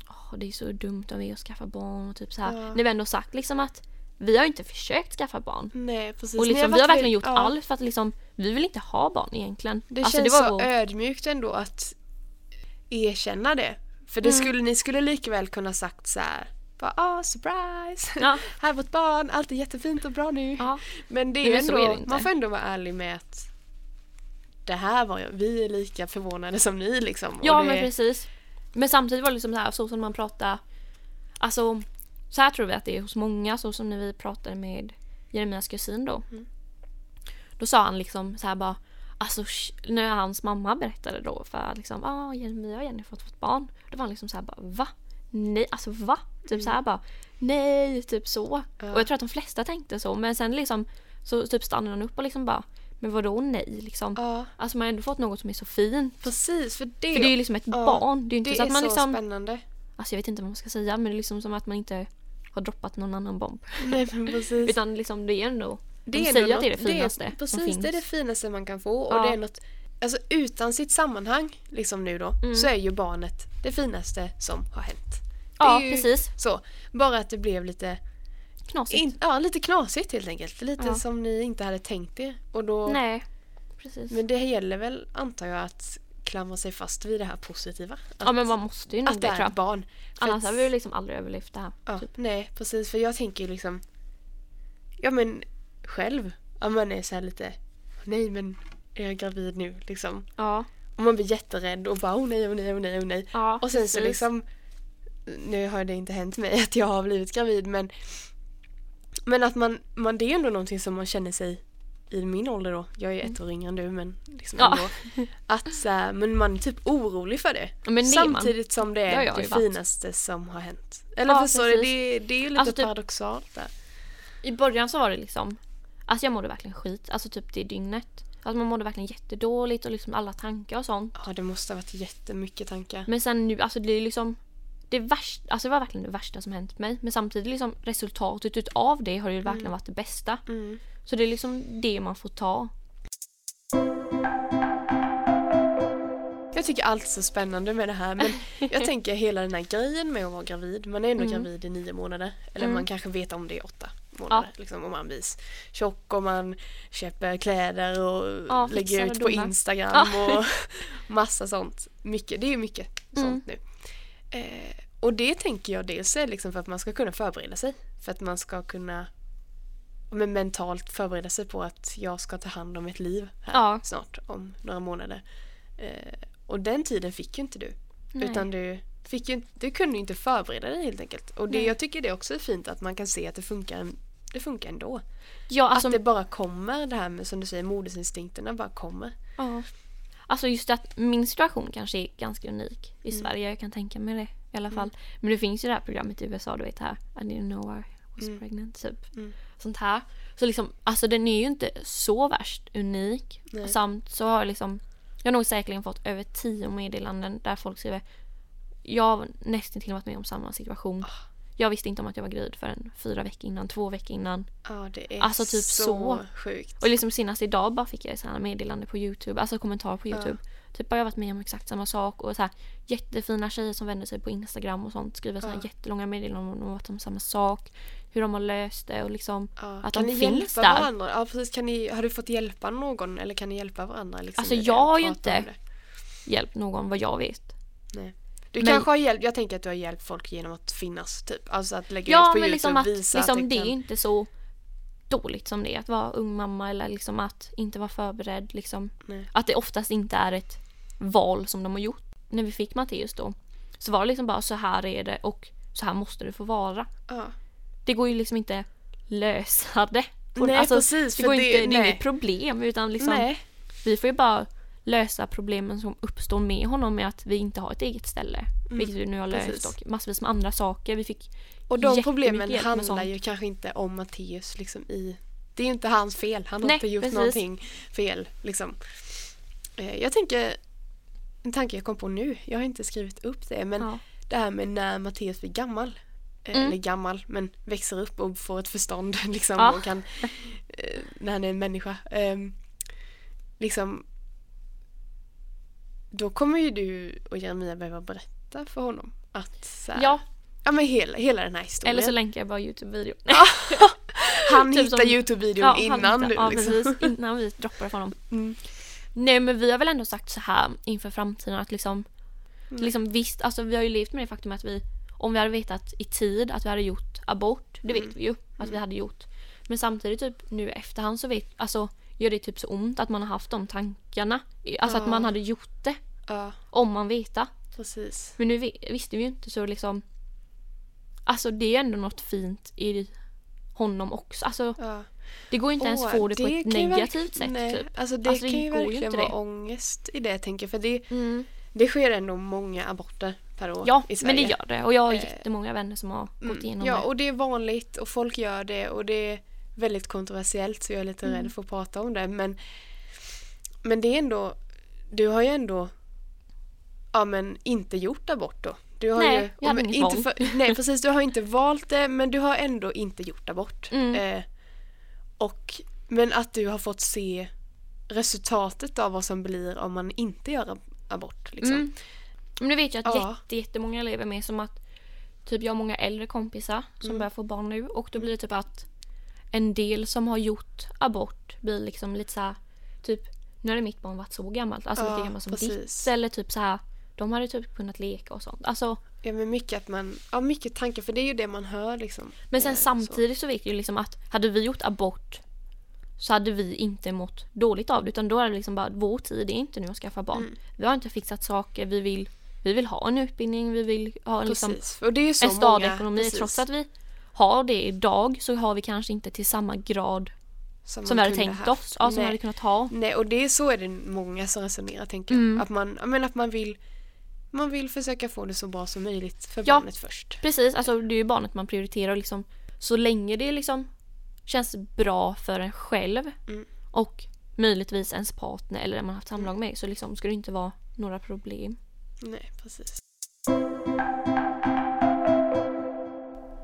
S3: "Åh, det är så dumt av er att skaffa barn och typ så här.
S2: Ja.
S3: När vi ändå sagt liksom att vi har ju inte försökt skaffa barn.
S2: Nej, precis.
S3: Och
S2: Ni
S3: liksom, vi har verkligen gjort
S2: ja,
S3: allt för att liksom, vi vill inte ha barn egentligen.
S2: Det
S3: alltså,
S2: känns
S3: det var
S2: så
S3: vår-
S2: ödmjukt ändå att erkänna det. För
S3: Mm.
S2: det skulle, ni skulle lika väl kunna sagt så här. Bara, ah, surprise!
S3: Ja.
S2: [laughs] här är vårt barn, allt är jättefint och bra nu.
S3: ja.
S2: Men det är
S3: Nej,
S2: ju
S3: men så
S2: ändå,
S3: är det inte.
S2: man får ändå vara ärlig med att det här var ju, vi är lika förvånade som ni liksom. Och
S3: ja
S2: det,
S3: men precis. Men samtidigt var det liksom så här, så som man pratar, alltså så här tror vi att det är hos många, så som när vi pratade med Jeremias kusin då.
S2: Mm.
S3: Då sa han liksom så här bara, alltså sh- när hans mamma berättade då för liksom, ah Jeremia och Jennifer har fått barn. Då var han liksom så här bara, va? Nej, alltså va? Typ så här bara, nej, typ så.
S2: Mm. Ja.
S3: Och jag tror att de flesta tänkte så, men sen liksom så typ stannade han upp och liksom bara, men vadå nej liksom?
S2: Ja,
S3: Alltså man har ändå fått något som är så fint.
S2: precis. För det,
S3: För det är ju liksom ett
S2: Ja,
S3: barn. Det är ju inte
S2: det
S3: så
S2: är
S3: att man
S2: så
S3: liksom...
S2: spännande.
S3: Alltså jag vet inte vad man ska säga men det är liksom som att man inte har droppat någon annan bomb.
S2: Nej men
S3: [laughs]
S2: precis.
S3: Utan liksom det är ändå...
S2: Det
S3: de
S2: är
S3: säger
S2: nog
S3: att det är det
S2: något-
S3: finaste
S2: det är,
S3: som
S2: Precis,
S3: finns.
S2: det är det finaste man kan få. Och
S3: Ja.
S2: det är något, alltså utan sitt sammanhang, liksom nu då,
S3: Mm.
S2: så är ju barnet det finaste som har hänt. Det
S3: Ja,
S2: är ju
S3: precis.
S2: Så, bara att det blev lite,
S3: Knasigt.
S2: in, ja, lite knasigt helt enkelt. Lite
S3: Ja.
S2: som ni inte hade tänkt er. Och då,
S3: Nej. precis.
S2: Men det gäller väl, antar jag, att klamra sig fast vid det här positiva. Att,
S3: ja men man måste ju nog
S2: att det
S3: det tror
S2: är ett
S3: jag.
S2: barn. För
S3: Annars
S2: att-
S3: hade vi ju liksom aldrig överlevt det här.
S2: Ja,
S3: Typ.
S2: Nej, precis. För jag tänker ju liksom... Ja, men själv. Om man är så här lite... Nej, men är jag gravid nu? Liksom.
S3: Ja.
S2: Och man blir jätterädd och bara åh nej, åh nej, åh nej, åh nej.
S3: ja
S2: och sen så
S3: precis.
S2: liksom... Nu har det inte hänt mig att jag har blivit gravid, men... Men att man... man det är ju ändå någonting som man känner sig i min ålder då. Jag är ju ett år yngre än du, men liksom
S3: Mm. Ja.
S2: ändå. Att så här, men man är typ orolig för det.
S3: Men det är man.
S2: Samtidigt som det
S3: Det har
S2: är
S3: jag
S2: det
S3: ju varit.
S2: finaste som har hänt. Eller
S3: Ja,
S2: förstår du?
S3: precis.
S2: Det, det är ju lite
S3: Alltså typ-
S2: paradoxalt där.
S3: I början så var det liksom, alltså jag mådde verkligen skit, alltså typ det dygnet. Alltså man mådde verkligen jättedåligt och liksom alla tankar och sånt.
S2: Ja, det måste ha varit jättemycket tankar.
S3: Men sen nu, alltså det är liksom det, värsta, alltså det var verkligen det värsta som hänt mig. Men samtidigt liksom resultatet utav det har ju verkligen varit det bästa.
S2: Mm.
S3: Så det är liksom det man får ta.
S2: Jag tycker allt är så spännande med det här. Men jag
S3: [laughs]
S2: tänker hela den här grejen med att vara gravid. Man är ändå gravid i nio månader. Eller
S3: Mm.
S2: man kanske vet om det i åtta månader. Liksom, om man blir tjock och man köper kläder och
S3: Ja, fixar
S2: lägger
S3: och
S2: ut på
S3: donar.
S2: Instagram och
S3: [laughs]
S2: massa sånt. Mycket, det är ju mycket
S3: Mm.
S2: sånt nu. Eh, och det tänker jag dels är liksom för att man ska kunna förbereda sig. För att man ska kunna men mentalt förbereda sig på att jag ska ta hand om ett liv här
S3: Ja.
S2: snart om några månader. Eh, och den tiden fick ju inte du.
S3: Nej.
S2: Utan du, fick ju, du kunde ju inte förbereda dig helt enkelt. Och det,
S3: Nej.
S2: jag tycker det också är fint att man kan se att det funkar, det funkar ändå.
S3: Ja, alltså,
S2: att det bara kommer det här med som du säger modersinstinkterna bara kommer.
S3: ja. alltså just att min situation kanske är ganska unik i Sverige. Jag kan tänka mig det i alla fall. Men det finns ju det här programmet i USA, du vet här. I didn't know I was pregnant typ. Sånt här. Så liksom, alltså den är ju inte så värst unik.
S2: Nej.
S3: Och samt så har jag liksom, jag har nog säkerligen fått över tio meddelanden där folk skriver jag har nästan till varit med om samma situation. Jag visste inte om att jag var gravid förrän fyra veckor innan, två veckor innan.
S2: Ja, det är
S3: Alltså typ
S2: så,
S3: så.
S2: sjukt.
S3: Och liksom senast idag bara fick jag sådana meddelande på Youtube, alltså kommentarer på Youtube. Typ har jag varit med om exakt samma sak och så här, jättefina tjejer som vänder sig på Instagram och sånt skriver sådana
S2: Ja.
S3: jättelånga meddelanden om, om, om samma sak, hur de har löst det och liksom
S2: Ja,
S3: att
S2: kan
S3: de
S2: ni
S3: finns
S2: hjälpa
S3: där.
S2: varandra? Ja, precis. Kan ni, har du fått hjälpa någon eller kan ni hjälpa varandra? Liksom,
S3: Alltså,
S2: i det?
S3: jag har ju
S2: Prata om
S3: inte-
S2: det.
S3: Hjälp någon vad jag vet.
S2: Nej. Du
S3: Men-
S2: kanske har hjälpt, jag tänker att du har hjälpt folk genom att finnas typ. Alltså att lägga
S3: Ja
S2: ut på
S3: men
S2: Youtube
S3: liksom att
S2: och visa
S3: liksom,
S2: att
S3: det
S2: det
S3: är ju
S2: kan...
S3: inte så dåligt som det är att vara ung mamma eller liksom att inte vara förberedd. Liksom.
S2: Nej.
S3: Att det oftast inte är ett val som de har gjort. När vi fick Matteus då så var det liksom bara så här är det och så här måste det få vara.
S2: Ja.
S3: det går ju liksom inte lösa det. på- alltså,
S2: Nej, precis,
S3: det,
S2: för
S3: går
S2: det-
S3: inte, det är ju
S2: nej.
S3: inget problem utan liksom,
S2: Nej.
S3: vi får ju bara lösa problemen som uppstår med honom med att vi inte har ett eget ställe. Vilket vi nu har löst
S2: Mm. precis.
S3: och massvis med andra saker. Vi fick
S2: Och de
S3: jättemycket
S2: problemen
S3: hjälp med
S2: handlar
S3: sånt.
S2: ju kanske inte om Matteus liksom i... Det är ju inte hans fel, han har
S3: Nej,
S2: inte gjort
S3: precis.
S2: någonting fel liksom. Eh, Jag tänker, en tanke jag kom på nu, jag har inte skrivit upp det men
S3: Ja.
S2: det här med när Matteus blir gammal. eh,
S3: Mm.
S2: Eller gammal, men växer upp och får ett förstånd [laughs] liksom
S3: Ja.
S2: och kan, eh, när han är en människa. ehm, liksom, då kommer ju du och Jeremia behöva berätta för honom att så här,
S3: Ja,
S2: ja men hela, hela den här historien.
S3: eller så länkar jag bara Youtube-videon.
S2: [laughs] Han
S3: Typ
S2: hittar
S3: som-
S2: Youtube-videon
S3: Ja, han
S2: innan
S3: hittar-
S2: du
S3: ja,
S2: liksom.
S3: precis, innan vi droppar det för honom.
S2: Mm.
S3: Nej men vi har väl ändå sagt så här inför framtiden att liksom,
S2: Mm.
S3: liksom visst, alltså vi har ju levt med det faktum att vi om vi hade vetat i tid att vi hade gjort abort, det
S2: Mm.
S3: vet vi ju att vi hade gjort. Men samtidigt typ nu i efterhand så vet, alltså gör det typ så ont att man har haft de tankarna. Alltså att
S2: Ja.
S3: man hade gjort det
S2: [laughs] Ja,
S3: om man vetat.
S2: precis.
S3: Men nu vi- visste vi ju inte så liksom Alltså det är ju ändå något fint i honom också. Alltså
S2: Ja.
S3: det går ju inte ens
S2: Åh,
S3: få det, på ett
S2: kan ju verk-
S3: negativt sätt
S2: Nej,
S3: typ.
S2: Alltså det
S3: Alltså, det
S2: kan ju
S3: går ju
S2: verkligen
S3: inte
S2: vara
S3: det.
S2: ångest i det jag tänker för det,
S3: Mm.
S2: det sker ändå många aborter per år
S3: Ja,
S2: i Sverige.
S3: men det gör det. Och jag har
S2: Eh, mm,
S3: jättemånga vänner som har gått igenom
S2: Ja,
S3: det.
S2: och det är vanligt och folk gör det och det är väldigt kontroversiellt så jag är lite
S3: Mm.
S2: rädd för att prata om det. Men, men det är ändå, du har ju ändå ja, men inte gjort abort då. Du har
S3: Nej,
S2: ju,
S3: jag hade
S2: men
S3: inget
S2: inte
S3: val.
S2: för, Nej, precis. Du har inte valt det men du har ändå inte gjort abort.
S3: Mm.
S2: Eh, och, men att du har fått se resultatet av vad som blir om man inte gör ab- abort. Liksom.
S3: Mm. Men du vet jag att
S2: Ja.
S3: jätte, jättemånga lever med som att typ jag har många äldre kompisar som
S2: Mm.
S3: börjar få barn nu och då blir det typ att en del som har gjort abort blir liksom lite så här, typ nu hade mitt barn varit så gammalt, alltså
S2: Ja,
S3: lika gammalt som
S2: precis.
S3: ditt. Eller typ så här, de hade typ kunnat leka och sånt. Alltså,
S2: Ja men mycket att man, ja mycket tankar för det är ju det man hör liksom.
S3: men sen
S2: Eh, så.
S3: samtidigt så vet jag ju liksom att hade vi gjort abort så hade vi inte mått dåligt av det utan då är det liksom bara vår tid är inte nu att skaffa barn.
S2: Mm.
S3: Vi har inte fixat saker, vi vill, vi vill ha en utbildning, vi vill ha liksom
S2: Precis. Och det är ju så
S3: en stadig
S2: många,
S3: ekonomi.
S2: precis,
S3: Trots att vi har det idag så har vi kanske inte till samma grad som vi
S2: man
S3: hade
S2: kunde
S3: tänkt
S2: haft.
S3: oss. Ja, som vi
S2: Nej.
S3: hade kunnat ha. Mm.
S2: Nej, och det är så är det många som resonerar tänker jag. Att, man, ja, men att man vill man vill försöka få det så bra som möjligt för
S3: Ja.
S2: barnet först.
S3: Precis, alltså det är ju barnet man prioriterar och liksom så länge det liksom känns bra för en själv
S2: Mm.
S3: och möjligtvis ens partner eller den man haft samlag
S2: Mm.
S3: med så liksom ska det inte vara några problem.
S2: Nej, precis.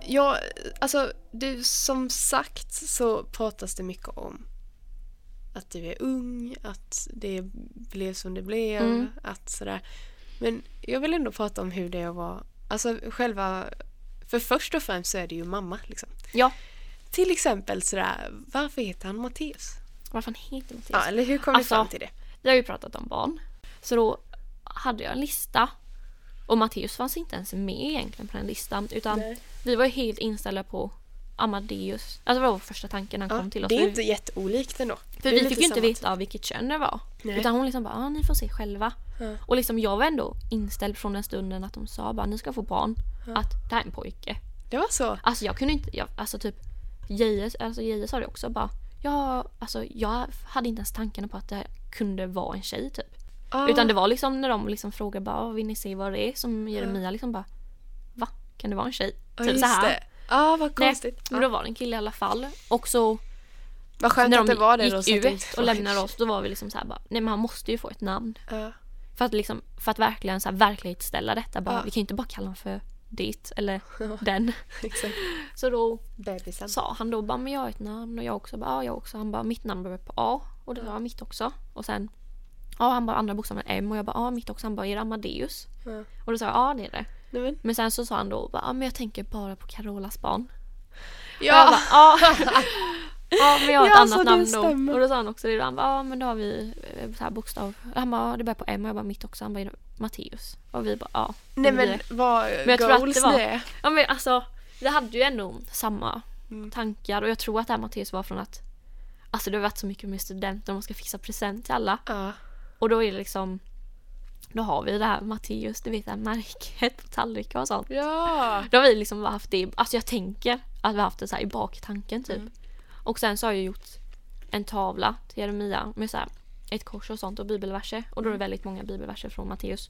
S2: Ja, alltså du som sagt så pratas det mycket om att du är ung, att det blev som det blev,
S3: Mm.
S2: att sådär. Men jag vill ändå prata om hur det var, alltså själva, för först och främst så är det ju mamma liksom.
S3: Ja,
S2: Till exempel sådär, varför heter han Matteus?
S3: vad fan heter Mattias?
S2: Ja, eller hur kom vi
S3: Alltså-
S2: fram till det?
S3: Vi har ju pratat om barn. Så då hade jag en lista. Och Matteus fanns inte ens med egentligen på den listan. Utan
S2: Nej.
S3: vi var ju helt inställda på Amadeus. Alltså det var vår första tanke när han
S2: Ja,
S3: kom till oss.
S2: det är
S3: För-
S2: inte jätteolikt ändå.
S3: för
S2: Det är
S3: vi
S2: lite
S3: fick ju inte
S2: samma
S3: veta av vilket kön det var.
S2: Nej.
S3: Utan hon liksom bara, ah, ni får se själva.
S2: Ja.
S3: Och liksom jag var ändå inställd från den stunden att de sa bara, ni ska få barn. Att det här är en pojke.
S2: Det var så?
S3: Alltså jag kunde inte, jag, alltså typ Jeje alltså Jeje sa det också bara. Ja, alltså jag hade inte ens tanken på att det här kunde vara en tjej typ.
S2: Ah,
S3: Utan det var liksom när de liksom frågade bara "Åh, vill ni se vad det är som Jeremia liksom bara Va? Kan det vara en tjej?
S2: ja,
S3: typ
S2: just
S3: så här.
S2: det. Ja, vad
S3: Nej,
S2: konstigt.
S3: men
S2: Ja.
S3: då var det en kille i alla fall. Och så
S2: Vad skönt
S3: när
S2: att
S3: de
S2: det var det
S3: gick
S2: då. så att det inte
S3: ut och
S2: var-
S3: lämnade oss då var vi liksom så här bara Nej men han måste ju få ett namn.
S2: Ja.
S3: För att, liksom, för att verkligen så här, verklighetsställa detta. Bara,
S2: Ja.
S3: Vi kan ju inte bara kalla honom för ditt
S2: [laughs]
S3: eller den.
S2: Exakt.
S3: Så då
S2: Bebisen.
S3: sa han då bara men jag har ett namn och jag också bara ja, jag också. Han bara mitt namn börjar på A och det var mitt också. Och sen ja han bara andra bokstaven M och jag bara ja mitt också. Han bara är det Amadeus?
S2: Ja.
S3: Och då sa jag ja det är det.
S2: Nej, men.
S3: Men sen så sa han då bara, "Ja, men jag tänker bara på Carolas barn. Och jag
S2: Ja,
S3: bara, ja. ja men jag har ett
S2: [laughs] Ja, så
S3: annat
S2: det
S3: namn
S2: stämmer.
S3: då. Och då sa han också det. Han bara, ja men då har vi eh, så här bokstav. Han bara, "Ja, det börjar på M och jag bara mitt också. Han bara, "Är det Matteus. Och vi bara, ja.
S2: nej
S3: det blir
S2: men
S3: det."
S2: vad
S3: jag tror att det
S2: goals
S3: var-
S2: det är.
S3: Ja men alltså, vi hade ju ändå samma
S2: Mm.
S3: tankar och jag tror att det här Matteus var från att Alltså det har varit så mycket med studenter, man ska fixa present till alla.
S2: Ja.
S3: Och då är det liksom Då har vi det här Matteus, du vet det här märket på tallrikar och sånt.
S2: Ja.
S3: Då har vi liksom bara haft det, alltså jag tänker att vi har haft det så här i baktanken typ.
S2: Mm.
S3: Och sen så har jag gjort en tavla till Jeremia med så här ett kors och sånt och bibelverser. Och
S2: Mm.
S3: då är det väldigt många bibelverser från Matteus.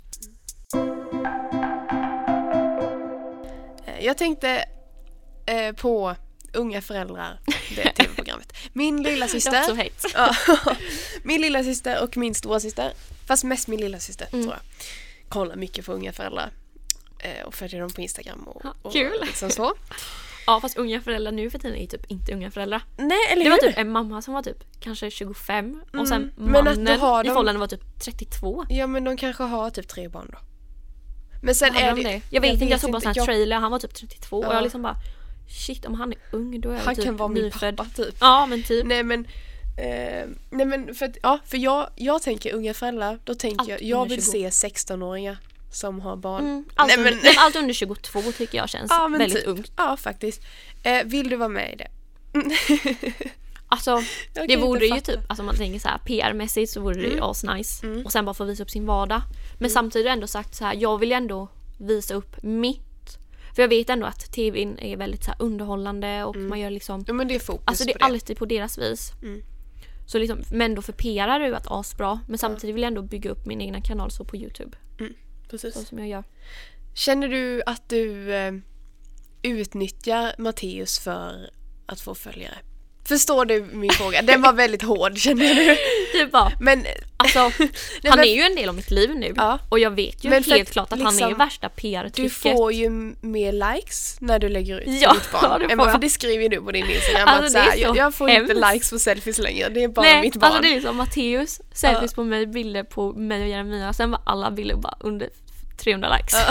S2: Eh, Jag tänkte eh, på unga föräldrar, det
S3: [laughs]
S2: tv-programmet. Min lilla
S3: Det var så
S2: syster.
S3: hett.
S2: Ja. [laughs] Min lilla syster och min stora syster. Fast mest min lilla syster
S3: Mm.
S2: tror jag. Kollar mycket på unga föräldrar. Eh, Och följer dem på Instagram och,
S3: Ja,
S2: och
S3: kul.
S2: liksom
S3: [laughs]
S2: så.
S3: Ja fast unga föräldrar nu för tiden är typ inte unga föräldrar.
S2: Nej, eller hur?
S3: Det var typ en mamma som var typ kanske 25 och sen
S2: Mm, men att
S3: mannen
S2: du har
S3: i
S2: dem-
S3: förhållande var typ 32.
S2: Ja men de kanske har typ tre barn då. Men sen
S3: Hade
S2: är
S3: de
S2: det,
S3: det? Jag vet inte, jag såg bara sån här
S2: Jag-
S3: trailer, han var typ 32 och
S2: Ja.
S3: jag liksom bara shit om han är ung då är jag
S2: Han
S3: typ
S2: kan vara min
S3: nyfödd.
S2: pappa typ.
S3: Ja men typ.
S2: Nej men, eh, nej men för, att, ja, för jag, jag tänker unga föräldrar, då tänker
S3: Allt
S2: jag, jag
S3: under
S2: vill
S3: 20.
S2: se 16-åringar som har barn.
S3: Mm, allt,
S2: nej, men,
S3: under, nej, allt under 22 tycker jag
S2: [laughs]
S3: känns
S2: ja, men
S3: väldigt
S2: typ.
S3: ungt.
S2: Ja faktiskt. Eh, vill du vara med i det?
S3: Alltså
S2: Jag
S3: det
S2: kan
S3: vore
S2: inte
S3: ju
S2: fatta. Mm.
S3: typ, alltså om man tänker så här PR-mässigt så vore det ju asnice. Och sen bara få visa upp sin vardag. Men samtidigt ändå sagt så här, jag vill ju ändå visa upp mitt. För jag vet ändå att tvn är väldigt så här underhållande
S2: Mm.
S3: och man gör liksom
S2: Ja men det är fokus
S3: Alltså det
S2: på
S3: är
S2: det. Mm.
S3: alltid på deras vis. Så liksom, men då för PR är det ju att asbra. Men samtidigt vill jag ändå bygga upp min egna kanal så på Youtube. Så
S2: Precis.
S3: som
S2: [laughs]
S3: jag gör.
S2: Känner du att du eh, utnyttjar Matteus för att få följare? Förstår du min fråga? Den var väldigt hård känner du.
S3: Typ bara,
S2: Men
S3: alltså,
S2: [laughs]
S3: han
S2: men-
S3: är ju en del av mitt liv nu.
S2: Ja.
S3: Och jag vet ju
S2: Men för
S3: helt
S2: att
S3: klart att han
S2: liksom,
S3: är värsta PR-trycket.
S2: Du får ju m- mer likes när du lägger ut
S3: [laughs] Ja,
S2: på ditt barn.
S3: det
S2: Emma,
S3: får jag.
S2: För det skriver ju du på din Instagram
S3: Alltså,
S2: att
S3: det är
S2: såhär, jag,
S3: så
S2: jag får inte
S3: hemskt.
S2: likes på selfies längre, det är bara
S3: Nej,
S2: mitt barn.
S3: alltså det är liksom Matteus, selfies på mig, bilder på mig och Jeremia. Sen var alla bilder bara under 300 likes.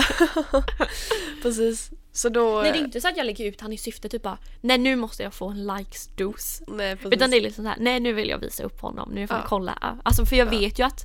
S3: [laughs]
S2: Precis. Så då...
S3: Nej det är inte så att jag lägger ut han i syfte typ bara nej nu måste jag få en likes-dos.
S2: Nej, precis.
S3: Utan det är liksom så här, nej nu vill jag visa upp honom, nu får jag
S2: Ja.
S3: kolla. Alltså för jag vet ju att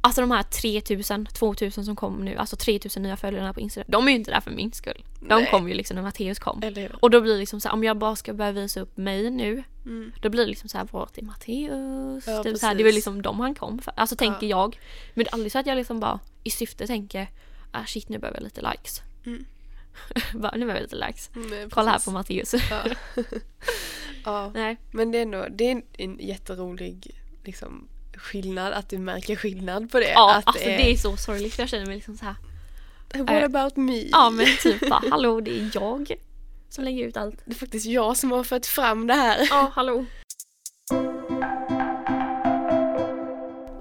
S3: Alltså de här 3000, 2000 som kom nu, alltså 3000 nya följarna på Instagram. De är ju inte där för min skull. De
S2: Nej.
S3: kom ju liksom när Matteus kom.
S2: Eller hur?
S3: Och då blir det liksom så här, om jag bara ska börja visa upp mig nu.
S2: Mm.
S3: Då blir det liksom så här, vart är Matteus?
S2: Ja,
S3: typ så här, det
S2: precis.
S3: var liksom de han kom för. Alltså tänker jag. Men det är aldrig så att jag liksom bara i syfte tänker, ah shit nu behöver jag lite likes.
S2: Mm.
S3: [laughs] bara, nu behöver jag lite likes.
S2: Nej,
S3: Kolla
S2: Mm,
S3: här
S2: precis.
S3: på Matteus.
S2: Ja. [laughs] ja.
S3: [laughs] Nej.
S2: Men det är ändå det är en, en jätterolig liksom, skillnad, att du märker skillnad på det.
S3: Ja,
S2: att
S3: alltså det är så sorgligt för jag känner mig liksom så här.
S2: What about me?
S3: Ja men typ bara, hallå det är jag som lägger ut allt.
S2: Det är faktiskt jag som har fört fram det här.
S3: Ja, hallå.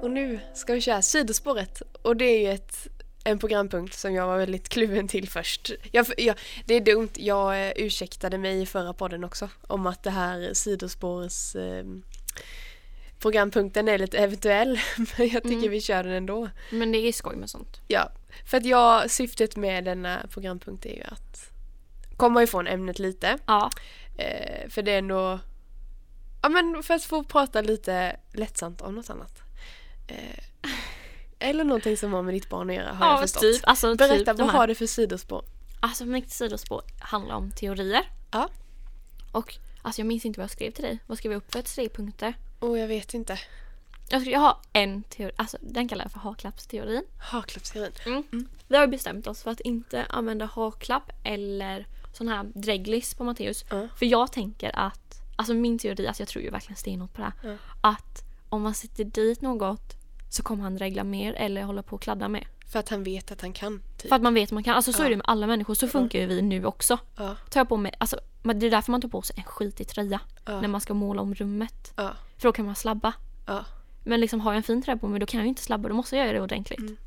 S2: Och nu ska vi köra sidospåret. Och det är ju ett, en programpunkt som jag var väldigt kluven till först. Jag, jag, det är dumt, jag eh, ursäktade mig i förra podden också om att det här sidospårs eh, programpunkten är lite eventuell. [laughs] Men jag tycker vi kör den ändå.
S3: Men det är skoj med sånt.
S2: Ja, för att jag, syftet med denna programpunkt är ju att komma ifrån ämnet lite.
S3: Ja,
S2: Eh, för det är ändå... Ja men för att få prata lite lättsamt om något annat. Eh, eller någonting som har med ditt barn att göra har jag
S3: ja
S2: förstått.
S3: typ. Alltså, typ
S2: Berätta,
S3: de
S2: vad
S3: här-
S2: har du för sidospår?
S3: Alltså mitt sidospår handlar om teorier.
S2: Ja.
S3: Och alltså jag minns inte vad jag skrev till dig. Vad skrev jag upp för tre punkter?
S2: Åh, jag vet inte.
S3: Jag, skrev, jag har en teori, alltså den kallar jag för haklappsteorin.
S2: Haklappsteorin.
S3: Mm.
S2: Mm.
S3: Vi har ju bestämt oss för att inte använda haklapp eller sån här dreglis på Matteus.
S2: Ja.
S3: För jag tänker att, alltså min teori, alltså jag tror ju verkligen stenhårt på det här.
S2: Ja.
S3: Att om man sätter dit något så kommer han dregla mer eller hålla på och kladda mer.
S2: För att han vet att han kan, typ.
S3: För att man vet att man kan. Alltså så är det med alla människor. Så funkar ju vi nu också.
S2: Ja,
S3: tar jag på mig, alltså, men det är därför man tar på sig en skitig tröja
S2: Ja.
S3: när man ska måla om rummet.
S2: ja,
S3: För då kan man slabba.
S2: ja.
S3: Men liksom har jag en fin tröja på mig då kan jag ju inte slabba, då måste jag göra det ordentligt.
S2: Mm.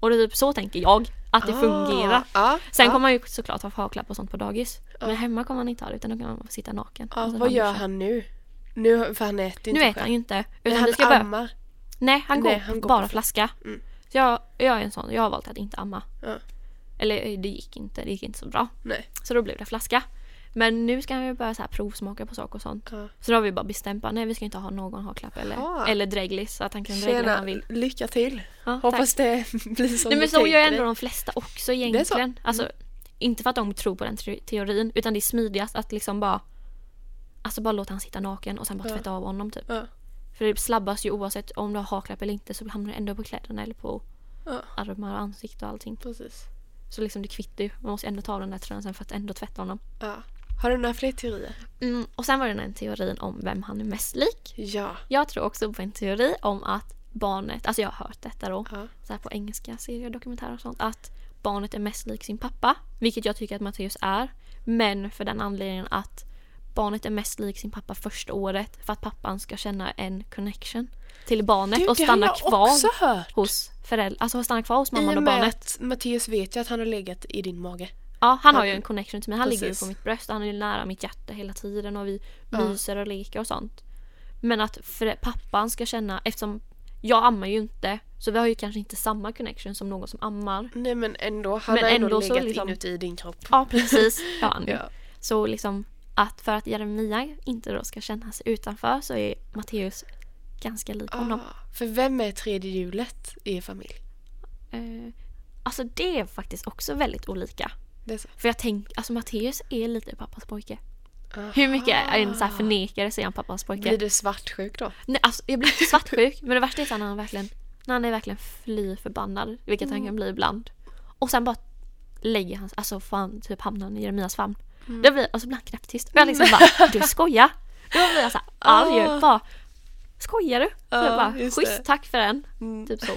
S3: Och det är typ så tänker jag, att
S2: Ah,
S3: det fungerar.
S2: Ja,
S3: Sen
S2: ja.
S3: kommer man ju såklart ha haklapp och sånt på dagis. Men hemma kommer man inte ha det utan då kan man sitta naken.
S2: Ja,
S3: Alltså,
S2: vad
S3: fan,
S2: gör
S3: ursäkta.
S2: han nu? Nu, för han äter ju
S3: Nu
S2: inte
S3: äter han ju inte.
S2: Nej,
S3: Utan
S2: han
S3: vi ska börja.
S2: ammar.
S3: Nej, han går,
S2: Nej, han går på
S3: bara
S2: fl-
S3: flaska.
S2: Mm.
S3: Så jag, jag är en sån, jag har valt att inte amma.
S2: Ja.
S3: Eller eh, det gick inte, det gick inte så bra.
S2: Nej.
S3: Så då blev det flaska. Men nu ska han ju börja så här provsmaka på saker och sånt.
S2: Ja.
S3: Så då har vi bara bestämt att nej vi ska inte ha någon haklapp eller,
S2: Jaha.
S3: eller dreglis så att han kan dregla när
S2: Tjena,
S3: han vill.
S2: lycka till.
S3: Ja, tack.
S2: Hoppas det [laughs] blir som
S3: Nej
S2: du
S3: men så
S2: tänker
S3: gör
S2: dig.
S3: ändå de flesta också egentligen. Alltså, inte för att de tror på den te- teorin utan det är smidigast att liksom bara Alltså bara låta han sitta naken och sen bara
S2: Ja.
S3: tvätta av honom typ.
S2: Ja.
S3: För det slabbas ju oavsett om du har haklapp eller inte så hamnar det ändå på kläderna eller på
S2: Ja.
S3: armar och ansikte och allting.
S2: Precis.
S3: Så liksom det kvittar ju. Man måste ändå ta av den där tröjan sen för att ändå tvätta honom.
S2: Ja. Har du några fler teorier?
S3: Mm, och sen var det den här teorin om vem han är mest lik.
S2: Ja.
S3: Jag tror också på en teori om att barnet, alltså jag har hört detta då,
S2: Ja.
S3: så här på engelska serier och dokumentärer och sånt, att barnet är mest lik sin pappa, vilket jag tycker att Matteus är, men för den anledningen att barnet är mest lik sin pappa första året för att pappan ska känna en connection till barnet och stanna kvar
S2: också hört.
S3: hos föräldrar, alltså stanna kvar hos
S2: I
S3: mamman
S2: och
S3: och
S2: med
S3: barnet.
S2: att Mattias vet ju att han har legat i din mage.
S3: Ja, han har ju en connection till mig. Han ligger ju
S2: Precis.
S3: på mitt bröst. Han är ju nära mitt hjärta hela tiden och vi
S2: Ja.
S3: myser och leker och sånt. Men att för pappan ska känna, eftersom jag ammar ju inte så vi har ju kanske inte samma connection som någon som ammar.
S2: Nej men ändå, han
S3: Men
S2: har ändå,
S3: ändå så
S2: legat
S3: liksom-
S2: inuti din kropp.
S3: Ja, precis. Ja, han ju.
S2: Ja.
S3: Så liksom att för att Jeremia inte då ska känna sig utanför så är Matteus ganska lik honom.
S2: Ah, för vem är tredje hjulet i er familj?
S3: Eh, alltså det är faktiskt också väldigt olika.
S2: Det är så.
S3: För jag tänker, alltså Matteus är lite pappas pojke.
S2: Aha.
S3: Hur mycket en så här förnekare så är han pappas pojke.
S2: Blir du svartsjuk då?
S3: Nej, alltså, jag blir inte svartsjuk men det värsta är sen när han verkligen, när han är verkligen fly förbannad, vilket
S2: Mm.
S3: han kan bli ibland. Och sen bara lägger han alltså får han typ hamnar han i Jeremias famn.
S2: Mm.
S3: Det blir, alltså, och så blir han knäpptyst. Och jag liksom bara, du skojar! Då blir jag såhär arg
S2: Ah.
S3: och bara, skojar du? Så
S2: Ja,
S3: jag bara,
S2: just det.
S3: schysst tack för den.
S2: Mm.
S3: Typ så.